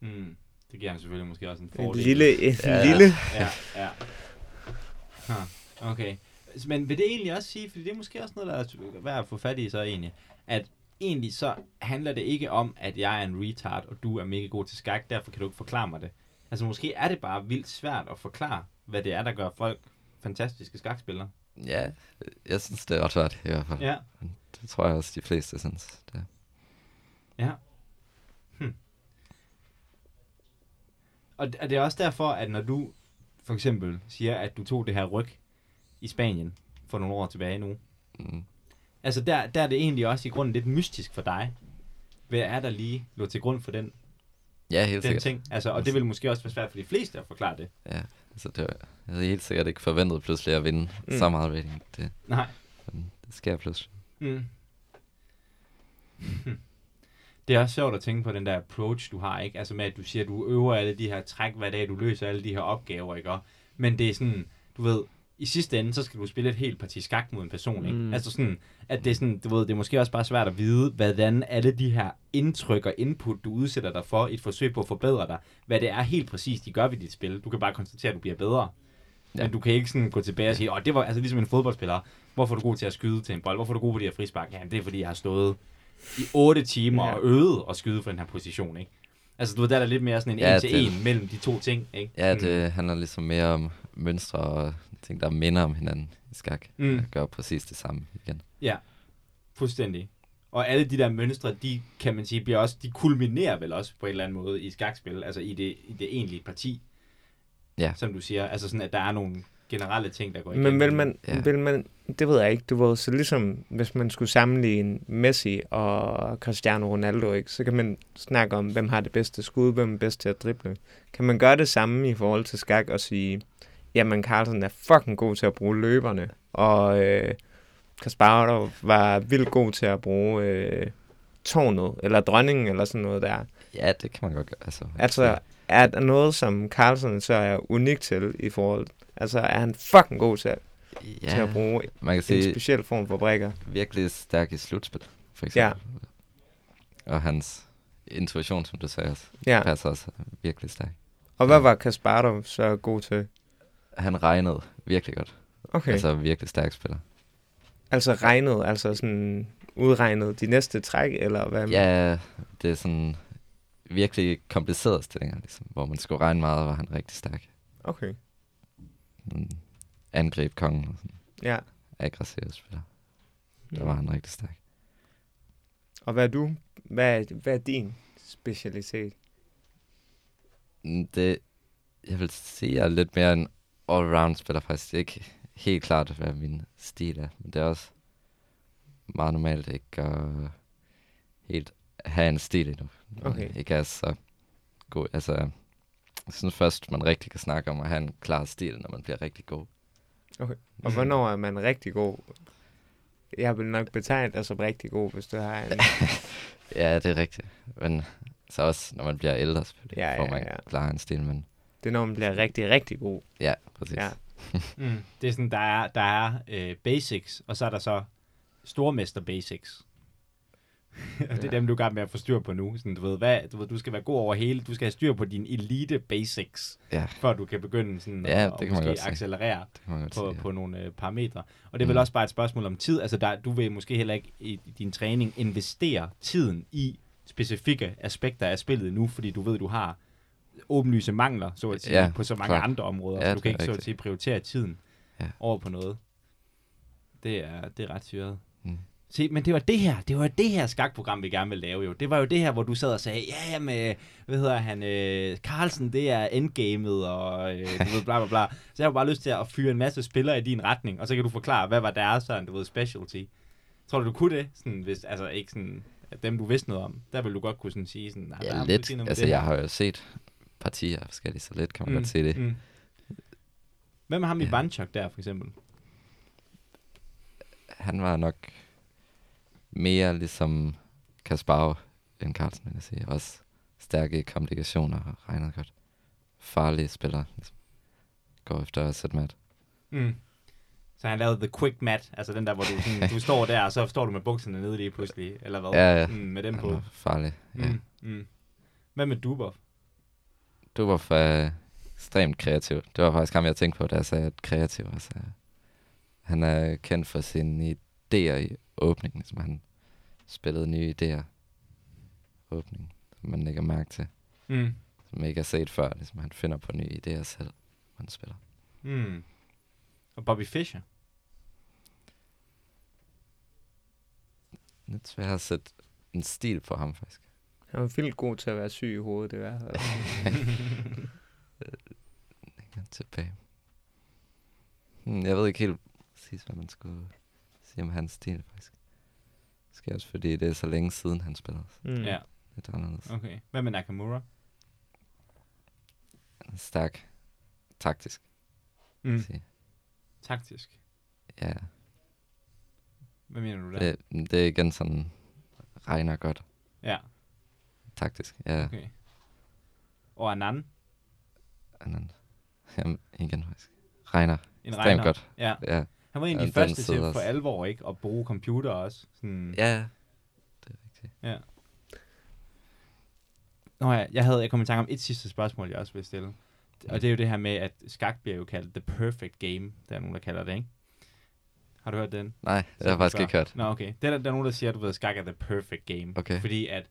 Speaker 2: Mm. Det giver ham selvfølgelig måske også en
Speaker 1: En
Speaker 2: fordel.
Speaker 1: lille, en
Speaker 3: Ja.
Speaker 1: ja. lille.
Speaker 2: Ja, ja. Huh. Okay. Men vil det egentlig også sige, fordi det er måske også noget, der er værd at få fat i så egentlig, at egentlig så handler det ikke om, at jeg er en retard, og du er mega god til skak, derfor kan du ikke forklare mig det. Altså måske er det bare vildt svært at forklare, hvad det er, der gør folk fantastiske skakspillere.
Speaker 3: Ja, jeg synes, det er ret svært i hvert fald.
Speaker 2: Ja.
Speaker 3: Det tror jeg også, de fleste synes. Det. er.
Speaker 2: Og og det er også derfor, at når du for eksempel siger, at du tog det her ryg i Spanien for nogle år tilbage nu,
Speaker 3: Mm.
Speaker 2: Altså, der, der er det egentlig også i grunden lidt mystisk for dig. Hvad er der lige lå til grund for den,
Speaker 3: Ja, helt
Speaker 2: den
Speaker 3: sikkert.
Speaker 2: ting? Altså, og det vil måske også være svært for de fleste at forklare det.
Speaker 3: Ja, altså det var, jeg havde helt sikkert ikke forventet pludselig at vinde
Speaker 1: Mm.
Speaker 2: Hmm.
Speaker 3: mm. så meget rating. Det,
Speaker 2: Nej.
Speaker 3: men det sker pludselig.
Speaker 2: Mm. Hmm. Det er også sjovt at tænke på den der approach, du har, ikke? Altså med, at du siger, at du øver alle de her træk hver dag, du løser alle de her opgaver, ikke? Og- Men det er sådan, du ved, i sidste ende, så skal du spille et helt parti skak mod en person, ikke?
Speaker 1: Mm.
Speaker 2: Mm. Altså sådan, at det er sådan, du ved, det er måske også bare svært at vide, hvordan alle de her indtryk og input, du udsætter dig for, i et forsøg på at forbedre dig, hvad det er helt præcist, de gør ved dit spil. Du kan bare konstatere, at du bliver bedre. Ja.
Speaker 3: Ja.
Speaker 2: Men du kan ikke sådan gå tilbage og sige, åh, det var altså ligesom en fodboldspiller, Hvorfor er du god til at skyde til en bold? Hvorfor er du god på de her frispark? Jamen, det er, fordi jeg har stået i 8 timer
Speaker 1: Ja.
Speaker 2: og øvet at skyde for den her position, ikke? Altså, du ved, der er der lidt mere sådan en
Speaker 3: Ja,
Speaker 2: ja, en til
Speaker 3: det-
Speaker 2: en mellem de to ting, ikke?
Speaker 3: Ja,
Speaker 2: Mm.
Speaker 3: det handler ligesom mere om mønstre og ting, der minder om hinanden i skak.
Speaker 2: Mm.
Speaker 3: Jeg gør præcis det samme igen.
Speaker 2: Fuldstændig. Og alle de der mønstre, de kan man sige, bliver også, de kulminerer vel også på en eller anden måde i skakspil, altså i det, i det egentlige parti,
Speaker 3: Ja.
Speaker 2: som du siger. Altså sådan, at der er nogle generelle ting, der går igennem.
Speaker 1: Men vil man,
Speaker 3: Ja.
Speaker 1: vil man, det ved jeg ikke, du ved, så ligesom hvis man skulle sammenligne Messi og Cristiano Ronaldo, ikke, så kan man snakke om, hvem har det bedste skud, hvem er bedst til at drible. Kan man gøre det samme i forhold til skak og sige, jamen Carlsen er fucking god til at bruge løberne, og øh, Kasparov var vildt god til at bruge øh, tårnet, eller dronningen, eller sådan noget der.
Speaker 3: Ja, det kan man godt gøre. Altså,
Speaker 1: Altså, er der noget, som Carlsen så er unik til i forhold Altså, er han fucking god til, ja. til at
Speaker 3: ja,
Speaker 1: bruge
Speaker 3: man kan
Speaker 1: en
Speaker 3: sige
Speaker 1: speciel form for brækker.
Speaker 3: virkelig stærk i slutspil, for eksempel. Ja. Og hans intuition, som du sagde også,
Speaker 1: Ja.
Speaker 3: ja. passer også virkelig stærk.
Speaker 1: Og hvad var Kasparov så god til?
Speaker 3: Han regnede virkelig godt.
Speaker 1: Okay.
Speaker 3: Okay.
Speaker 1: Altså,
Speaker 3: Altså virkelig stærk spiller.
Speaker 1: altså regnet, altså sådan udregnet de næste træk, eller hvad?
Speaker 3: Ja, det er sådan virkelig komplicerede stillinger, ligesom, hvor man skulle regne meget, var han rigtig stærk.
Speaker 1: Okay.
Speaker 3: Han angreb kongen og sådan
Speaker 1: Ja.
Speaker 3: aggressiv spiller. Der var han rigtig stærk.
Speaker 1: Og hvad er du? Hvad er, hvad er din specialitet?
Speaker 3: Mm, Det, jeg vil sige, jeg er lidt mere en all-round spiller faktisk. Det er ikke helt klart, hvad min stil er, men det er også meget normalt ikke at helt have en stil endnu. når
Speaker 1: Okay.
Speaker 3: jeg Ikke er så god. Altså, jeg synes først, man rigtig kan snakke om at have en klar stil, når man bliver rigtig god.
Speaker 1: Og
Speaker 3: Mm.
Speaker 1: hvornår er man rigtig god? Jeg vil nok betegne dig som rigtig god, hvis du har en...
Speaker 3: Ja, det er rigtigt. Men så også, når man bliver ældre, selvfølgelig,
Speaker 1: Ja,
Speaker 3: ja, får
Speaker 1: ja,
Speaker 3: man
Speaker 1: ja.
Speaker 3: ja. klar en stil, men
Speaker 1: Det er, når man bliver rigtig, rigtig god.
Speaker 3: ja, præcis.
Speaker 1: Ja.
Speaker 3: Ja.
Speaker 2: Mm. Det er sådan, der er, der er øh, basics, og så er der så stormester basics. og det er dem, du er i gang med at få styr på nu. Sådan, du, ved, hvad, du, ved, du skal være god over hele, du skal have styr på dine elite basics,
Speaker 3: Ja,
Speaker 2: før du kan begynde sådan,
Speaker 3: Ja,
Speaker 2: at,
Speaker 3: det kan man
Speaker 2: at
Speaker 3: godt
Speaker 2: måske
Speaker 3: sige.
Speaker 2: accelerere
Speaker 3: det kan man godt
Speaker 2: på,
Speaker 3: sige.
Speaker 2: på nogle øh, parametre. Og
Speaker 3: Mm.
Speaker 2: det er vel også bare et spørgsmål om tid. Altså, der, du vil måske heller ikke i din træning investere tiden i specifikke aspekter af spillet nu, fordi du ved, du har åbenlyse mangler, så at sige,
Speaker 3: Ja,
Speaker 2: ja, på så mange
Speaker 3: klart.
Speaker 2: andre områder,
Speaker 3: Ja,
Speaker 2: ja, så du
Speaker 3: det
Speaker 2: kan
Speaker 3: er
Speaker 2: ikke så at
Speaker 3: rigtigt.
Speaker 2: sige prioritere tiden
Speaker 3: Ja.
Speaker 2: ja. over på noget. Det er, det er ret syret.
Speaker 3: Mm.
Speaker 2: Se, men det var det her, det var det her skakprogram, vi gerne ville lave jo. Det var jo det her, hvor du sad og sagde, ja, ja, men, hvad hedder han, øh, Carlsen, det er endgamet, og øh, du ved, bla, bla, bla. Så jeg har bare lyst til at fyre en masse spillere i din retning, og så kan du forklare, hvad var deres, sådan, du ved, specialty. Tror du, du kunne det? Sådan, hvis, altså ikke sådan, at dem du vidste noget om. Der ville du godt kunne sådan sige sådan, nej, der er
Speaker 3: Ja,
Speaker 2: måske
Speaker 3: lidt.
Speaker 2: noget med
Speaker 3: Altså,
Speaker 2: det her."
Speaker 3: jeg har jo set partier af forskellige, så lidt kan man godt se det.
Speaker 2: Mm. Hvem er ham i
Speaker 3: Ja.
Speaker 2: Vandchok der, for eksempel?
Speaker 3: Han var nok mere ligesom Kasparov end Carlsen, vil jeg sige. Også stærke i komplikationer og regner godt. Farlige spillere, ligesom. Går efter at sætte mat.
Speaker 2: Mm. Så han lavede The Quick Mat, altså den der, hvor du, sådan, du står der, og så står du med bukserne nede lige pludselig, eller hvad?
Speaker 3: Ja, ja.
Speaker 2: Mm, med dem
Speaker 3: Han
Speaker 2: på.
Speaker 3: var farlig. Ja.
Speaker 2: Mm, mm. Hvad med Dubov?
Speaker 3: Du var for ekstremt kreativ. Det var faktisk ham, jeg tænkte på, da jeg sagde, at kreativ også er. Han er kendt for sine idéer i åbningen, som han spillede nye idéer i åbningen, som man lægger mærke til,
Speaker 2: Mm.
Speaker 3: som man ikke har set før. Ligesom han finder på nye idéer selv, når han spiller.
Speaker 2: Mm. Og Bobby Fischer?
Speaker 3: Lidt svært at sætte en stil på ham, faktisk.
Speaker 1: Han var vildt god til at være syg i hovedet, det var.
Speaker 3: Ikke han tilbage. Hmm, jeg ved ikke helt præcis, hvad man skulle sige om hans stil, faktisk. Måske også, fordi det er så længe siden, han spiller. Så
Speaker 1: Mm.
Speaker 2: Ja,
Speaker 3: lidt anderledes.
Speaker 2: okay. Hvad med Nakamura?
Speaker 3: stærk taktisk.
Speaker 2: Mm.
Speaker 3: Mm. Sige.
Speaker 2: Taktisk.
Speaker 3: Ja,
Speaker 2: Hvad mener du der?
Speaker 3: det, det er igen sådan, regner godt
Speaker 2: Ja,
Speaker 3: taktisk. Ja, okay.
Speaker 2: okay. Og Anan?
Speaker 3: anden. Jamen, igen faktisk. Regner.
Speaker 2: En
Speaker 3: Ekstremt
Speaker 2: regner.
Speaker 3: godt.
Speaker 2: Ja. Mm.
Speaker 3: Ja,
Speaker 2: Han var en af
Speaker 3: Ja,
Speaker 2: de
Speaker 3: den
Speaker 2: første til
Speaker 3: sidder
Speaker 2: for
Speaker 3: også.
Speaker 2: alvor ikke at bruge computer også. Sådan.
Speaker 3: ja. det er rigtigt.
Speaker 2: Nå ja, jeg, havde, jeg kom i tanke om et sidste spørgsmål, jeg også vil stille. Og det er jo det her med, at skak bliver jo kaldt the perfect game. Der er nogen, der kalder det, ikke? Har du hørt den?
Speaker 3: Nej, det har jeg
Speaker 2: Som
Speaker 3: faktisk
Speaker 2: før.
Speaker 3: ikke hørt.
Speaker 2: Nå, okay. Det er, der, der er nogen, der siger, at du ved, skak er the perfect game.
Speaker 3: Okay.
Speaker 2: Fordi at,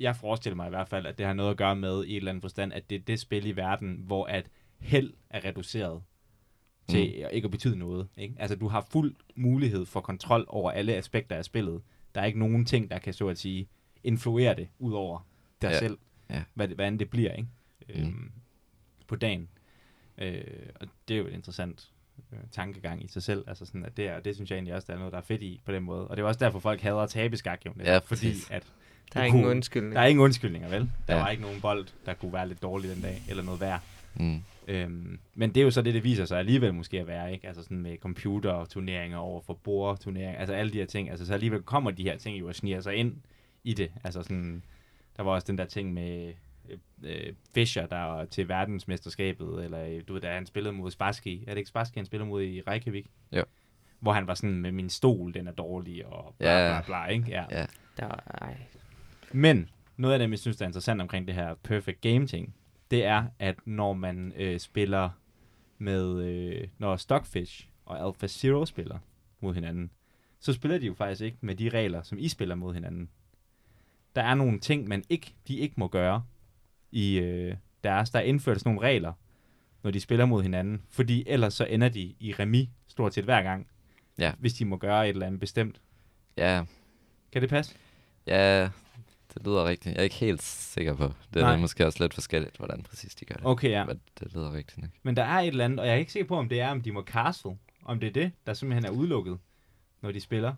Speaker 2: jeg forestiller mig i hvert fald, at det har noget at gøre med i et eller andet forstand, at det er det spil i verden, hvor at held er reduceret til mm. ikke at betyde noget. Ikke? Altså, du har fuld mulighed for kontrol over alle aspekter af spillet. Der er ikke nogen ting, der kan så at sige influere det, ud over dig
Speaker 3: Ja.
Speaker 2: selv,
Speaker 3: Ja.
Speaker 2: hvad, det- hvordan det bliver ikke?
Speaker 3: Mm.
Speaker 2: Øhm, på dagen. Øh, og det er jo et interessant øh, tankegang i sig selv. Altså sådan, at det, er, det synes jeg egentlig også, der er noget, der er fedt i på den måde. Og det er også derfor, folk hader at tabe skak, jo. netop,
Speaker 3: Ja,
Speaker 2: fordi
Speaker 3: præcis.
Speaker 2: at
Speaker 1: Der er
Speaker 2: du
Speaker 1: ingen
Speaker 2: kunne-
Speaker 1: undskyldning.
Speaker 2: der er ingen undskyldninger, vel? Der
Speaker 3: Ja.
Speaker 2: var ikke nogen bold, der kunne være lidt dårlig den dag, eller noget værd.
Speaker 3: Mm.
Speaker 2: Øhm, men det er jo så det, det viser sig alligevel måske at være, ikke? Altså sådan med computerturneringer over for bordturneringer, altså alle de her ting. Altså så alligevel kommer de her ting jo og sniger sig ind i det. Altså sådan, der var også den der ting med øh, øh, Fischer, der var til verdensmesterskabet, eller øh, du ved, da han spillede mod Spassky. Er det ikke Spassky, han spillede mod i Reykjavik?
Speaker 3: Jo.
Speaker 2: Hvor han var sådan med min stol, den er dårlig, og bla
Speaker 3: Ja.
Speaker 2: bla bla, ikke? Ja.
Speaker 3: Ja.
Speaker 1: Der er, ej.
Speaker 2: Men noget af det, jeg synes, der er interessant omkring det her perfect game ting, det er, at når man øh, spiller med, øh, når Stockfish og Alpha Zero spiller mod hinanden, så spiller de jo faktisk ikke med de regler, som I spiller mod hinanden. Der er nogle ting, man ikke, de ikke må gøre i øh, deres. Der er indført sådan nogle regler, når de spiller mod hinanden, fordi ellers så ender de i remi stort set hver gang,
Speaker 3: Ja.
Speaker 2: hvis de må gøre et eller andet bestemt.
Speaker 3: Ja,
Speaker 2: Kan det passe?
Speaker 3: ja, det lyder rigtigt. Jeg er ikke helt sikker på. Det
Speaker 2: Nej.
Speaker 3: er måske også lidt forskelligt, hvordan præcis de gør det.
Speaker 2: Okay, ja.
Speaker 3: Men det lyder rigtigt nok.
Speaker 2: Men der er et eller andet, og jeg er ikke sikker på, om det er, om de må castle. Om det er det, der simpelthen er udelukket, når de spiller.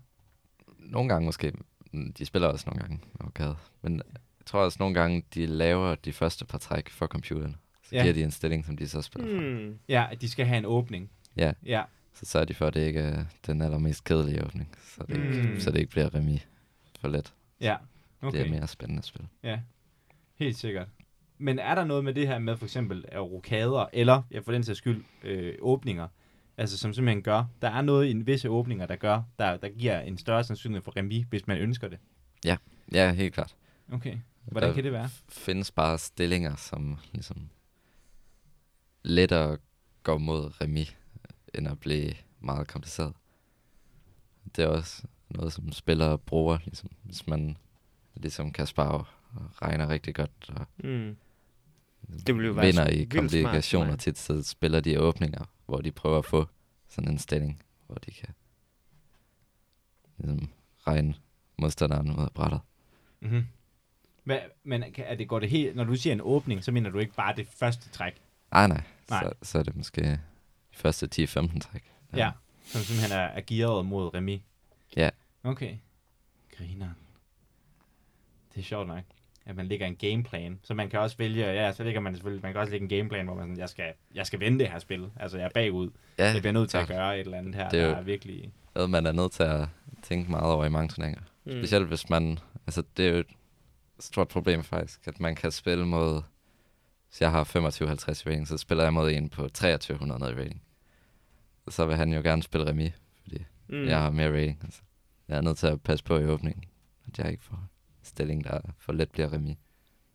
Speaker 3: Nogle gange måske. Mm, De spiller også nogle gange med arcade. Men jeg tror også nogle gange, de laver de første par træk for computeren. Så
Speaker 2: Ja. Hmm.
Speaker 3: ja. giver de en stilling, som de så spiller fra.
Speaker 1: Mm.
Speaker 2: Ja, at de skal have en åbning.
Speaker 3: Ja,
Speaker 2: Ja,
Speaker 3: så sørger de for, at det ikke er den allermest kedelige åbning. Så det,
Speaker 2: Mm.
Speaker 3: ikke, så det ikke bliver remi for let.
Speaker 2: ja.
Speaker 3: Okay. Det er
Speaker 2: Okay,
Speaker 3: mere spændende at spille.
Speaker 2: helt sikkert. Men er der noget med det her med for eksempel øh, rokader, eller ja, for den sags skyld, øh, åbninger, altså som simpelthen gør, der er noget i en visse åbninger, der gør, der, der giver en større sandsynlighed for remi, hvis man ønsker det.
Speaker 3: Ja, helt klart.
Speaker 2: Okay. Hvordan
Speaker 3: Der
Speaker 2: kan det være?
Speaker 3: f- findes bare stillinger, som ligesom lettere går mod remi, end at blive meget kompliceret. Det er også noget, som spillere bruger, ligesom, hvis man ligesom kan spare og regner rigtig godt og
Speaker 1: Mm. Det ville jo være
Speaker 3: vinder
Speaker 1: så
Speaker 3: i
Speaker 1: vildt smart for
Speaker 3: komplikationer.
Speaker 1: mig.
Speaker 3: Tit så spiller de åbninger, hvor de prøver at få sådan en stilling, hvor de kan ligesom regne modstanderen ud af brættet.
Speaker 2: Mm-hmm. Hvad, men kan, er det, går det helt, når du siger en åbning, så mener du ikke bare det første træk?
Speaker 3: Ah, nej, nej.
Speaker 2: Nej.
Speaker 3: Så, så er det måske de første 10-15 træk.
Speaker 2: Ja. ja. Som simpelthen er, er gearet mod Remi.
Speaker 3: Ja.
Speaker 2: Okay. Griner. Det er sjovt nok, at man lægger en gameplan. Så man kan også vælge, ja, så lægger man selvfølgelig, man kan også lægge en gameplan, hvor man sådan, jeg skal, jeg skal vinde det her spil. Altså, jeg er bagud.
Speaker 3: ja
Speaker 2: Jeg bliver nødt til at
Speaker 3: klart.
Speaker 2: gøre et eller andet her,
Speaker 3: Det er
Speaker 2: det
Speaker 3: jo-
Speaker 2: der er virkelig...
Speaker 3: Noget, man er nødt til at tænke meget over i mange turneringer. Mm.
Speaker 1: Mm.
Speaker 3: Specielt hvis man... Altså, det er jo et stort problem faktisk, at man kan spille mod... Hvis jeg har 25-50 i rating, så spiller jeg mod en på 2300 nede i rating. Så vil han jo gerne spille remi, fordi
Speaker 1: Hmm.
Speaker 3: mm. jeg har mere rating. Altså. Jeg er nødt til at passe på i åbningen, at jeg ikke får stilling, der for let bliver remi.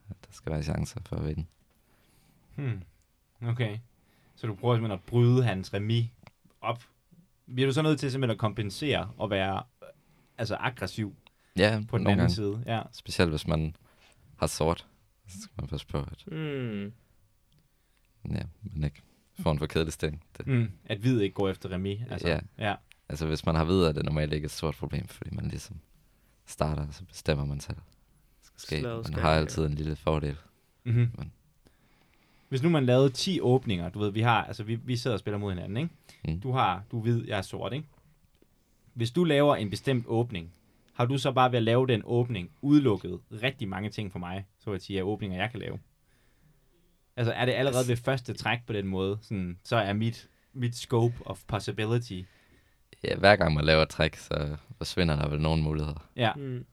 Speaker 3: At Der skal være chancer for at vinde.
Speaker 2: Hmm. Okay. Så du prøver simpelthen at bryde hans remi op. Bliver du så nødt til simpelthen at kompensere og være øh, altså aggressiv
Speaker 3: Ja,
Speaker 2: på den
Speaker 3: nogle
Speaker 2: anden
Speaker 3: gange.
Speaker 2: side? Ja.
Speaker 3: Specielt hvis man har sort, så skal man passe på, at
Speaker 1: Mm.
Speaker 3: ja, man ikke får en for kedelig stilling. Det,
Speaker 2: Mm. At hvid ikke går efter remi. Altså.
Speaker 3: Ja.
Speaker 2: ja.
Speaker 3: altså hvis man har videre, er det normalt ikke et stort problem, fordi man ligesom starter, og så bestemmer man selv. Skal ske.
Speaker 1: Slaget
Speaker 3: Man
Speaker 1: skal,
Speaker 3: har
Speaker 1: ja.
Speaker 3: altid en lille fordel.
Speaker 2: Mm-hmm.
Speaker 3: Men-
Speaker 2: Hvis nu man lavede 10 åbninger, du ved, vi har, altså vi, vi sidder og spiller mod hinanden, ikke?
Speaker 3: Mm.
Speaker 2: Du har, du er hvid, jeg er sort, ikke? Hvis du laver en bestemt åbning, har du så bare ved at lave den åbning udelukket rigtig mange ting for mig, så at sige, af åbninger, jeg kan lave? Altså er det allerede ved første træk på den måde, sådan, så er mit, mit scope of possibility.
Speaker 3: Ja, hver gang man laver et trick, så forsvinder der vel nogle muligheder.
Speaker 2: Ja,
Speaker 1: Mm.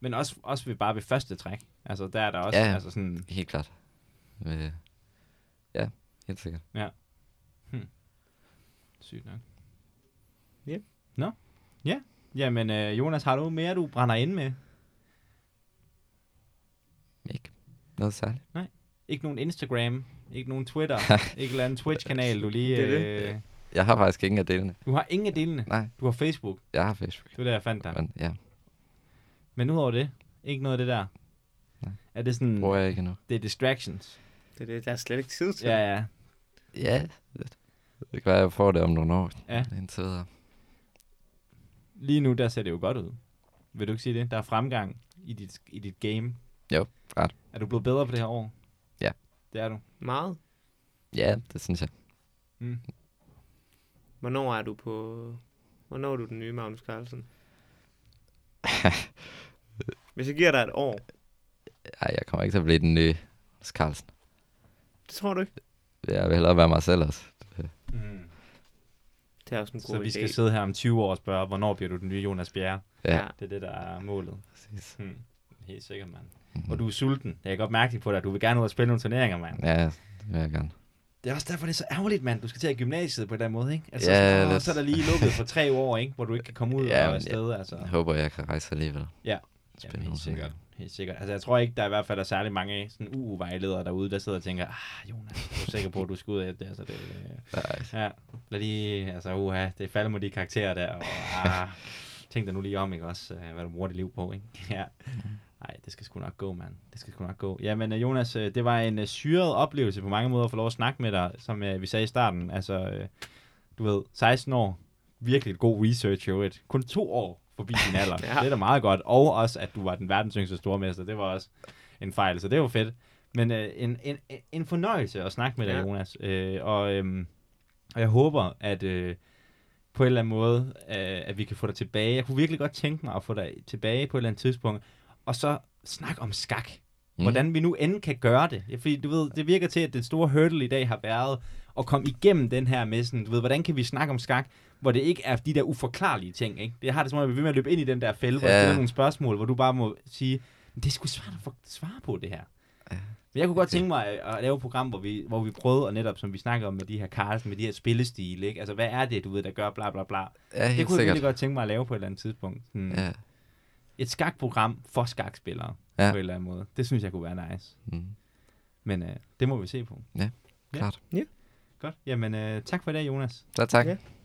Speaker 2: men også, også ved bare ved første træk. Altså der er der også,
Speaker 3: Ja.
Speaker 2: altså sådan,
Speaker 3: Helt klart. Øh, Ja, helt sikkert.
Speaker 2: Sygt nok.
Speaker 1: Ja.
Speaker 2: Nå. Ja. Jamen, øh, Jonas, har du mere, du brænder ind med?
Speaker 3: Ikke noget særligt.
Speaker 2: Ikke nogen Instagram, ikke nogen Twitter, ikke en eller anden Twitch-kanal, du lige...
Speaker 1: Det er
Speaker 2: Øh,
Speaker 3: Jeg har faktisk ingen af delene.
Speaker 2: du har ingen af delene.
Speaker 3: Nej,
Speaker 2: Du har Facebook.
Speaker 3: jeg har Facebook.
Speaker 2: Det var der, jeg fandt dig.
Speaker 3: Men ja,
Speaker 2: Men udover det, ikke noget af det der.
Speaker 3: Nej.
Speaker 2: Er det sådan...
Speaker 3: bruger jeg ikke endnu.
Speaker 2: Det er distractions.
Speaker 1: Det er det, der er slet ikke tid til.
Speaker 2: Ja, ja.
Speaker 3: Ja, lidt. det kan være, jeg får det om nogle år.
Speaker 2: Ja.
Speaker 3: Indtil videre.
Speaker 2: Lige nu, der ser det jo godt ud. Vil du ikke sige det? Der er fremgang i dit, i dit game.
Speaker 3: Jo, ret.
Speaker 2: Er du blevet bedre på det her år?
Speaker 3: Ja.
Speaker 2: Det er du.
Speaker 1: Meget.
Speaker 3: Ja, det synes jeg.
Speaker 2: Mm.
Speaker 1: Hvornår er du på... Hvornår er du den nye Magnus Carlsen? Hvis jeg giver dig et år,
Speaker 3: Ej, jeg kommer ikke til at blive den nye Mads Carlsen.
Speaker 1: det tror du ikke?
Speaker 3: Jeg vil hellere være mig selv også.
Speaker 2: Mm.
Speaker 1: Det er også en god
Speaker 2: Så vi
Speaker 1: idé.
Speaker 2: skal sidde her om 20 år og spørge, hvornår bliver du den nye Jonas Bjerre?
Speaker 3: Ja,
Speaker 1: Ja.
Speaker 3: ja.
Speaker 2: Det er det, der er målet.
Speaker 3: præcis.
Speaker 2: Hmm. Helt sikkert, mand.
Speaker 3: Mhm.
Speaker 2: Og du er sulten. Jeg kan godt mærke det på dig. Du vil gerne ud og spille nogle turneringer, mand.
Speaker 3: Ja, det vil jeg gerne.
Speaker 2: Det er også derfor, det er så ærgerligt, mand. Du skal til at gymnasiet på den måde, ikke? Altså,
Speaker 3: Ja,
Speaker 2: sådan, åh,
Speaker 3: lidt.
Speaker 2: så er der lige lukket for tre år, ikke? Hvor du ikke kan komme ud
Speaker 3: Ja,
Speaker 2: ja, og
Speaker 3: men
Speaker 2: afsted, altså.
Speaker 3: Jeg håber, jeg kan rejse alligevel.
Speaker 2: Ja.
Speaker 3: Spille
Speaker 2: Jamen, helt
Speaker 3: nogle
Speaker 2: sikkert.
Speaker 3: turneringer.
Speaker 2: Helt sikkert. Altså, jeg tror ikke, der er i hvert fald er særlig mange sådan UU-vejledere derude, der sidder og tænker, ah, Jonas, jeg er sikker på, at du skal ud af det, altså, det øh,
Speaker 3: Nej,
Speaker 2: ja, lad lige, altså, uha, det falder mod de karakterer der, og ah, tænk dig nu lige om, ikke også, øh, hvad du bruger dit liv på, ikke? Ja. Nej, det skal sgu nok gå, mand. Det skal sgu nok gå. Jamen, øh, Jonas, øh, det var en øh, syret oplevelse på mange måder at få lov at snakke med dig, som øh, vi sagde i starten. Altså, øh, du ved, 16 år, virkelig et god research, jo et. Kun to år forbi din alder. ja.
Speaker 1: Ja.
Speaker 2: Det er da meget godt. Og også, at du var den verdens yngste stormester. Det var også en fejl, så det var fedt. Men øh, en, en, en fornøjelse at snakke med dig,
Speaker 1: Ja.
Speaker 2: Jonas. Øh, og, øhm, og jeg håber, at... Øh, på en eller anden måde, øh, at vi kan få dig tilbage. Jeg kunne virkelig godt tænke mig at få dig tilbage på et eller andet tidspunkt. Og så snak om skak. Mm.
Speaker 3: Mm.
Speaker 2: Hvordan vi nu end kan gøre det. Ja, Fordi du ved, det virker til, at den store hurdle i dag har været at komme igennem den her med sådan, du ved, hvordan kan vi snakke om skak, hvor det ikke er de der uforklarlige ting, ikke? Det har det som om, at vi er ved med at løbe ind i den der fælde, hvor
Speaker 3: Ja.
Speaker 2: der stiller nogle spørgsmål, hvor du bare må sige, "Men det er sgu svært at få- svare på det her. Men jeg kunne godt tænke mig øh, at at lave et program, hvor vi, hvor vi prøvede, og netop som vi snakker om med de her Carlsen, med de her spillestil, ikke? Altså, hvad er det, du ved, der gør bla bla bla?
Speaker 3: Ja,
Speaker 2: Det
Speaker 3: helt
Speaker 2: kunne jeg
Speaker 3: sikkert.
Speaker 2: virkelig godt tænke mig at lave på et eller andet tidspunkt. Hmm. Ja.
Speaker 3: Ja.
Speaker 2: et skakprogram for skakspillere ja.
Speaker 3: Ja.
Speaker 2: på en eller anden måde. Det synes jeg kunne være nice.
Speaker 3: Mm.
Speaker 2: Men øh, det må vi se på.
Speaker 3: Klart.
Speaker 2: Godt. Jamen, øh, tak for i dag, Jonas.
Speaker 3: Så tak.
Speaker 1: Ja.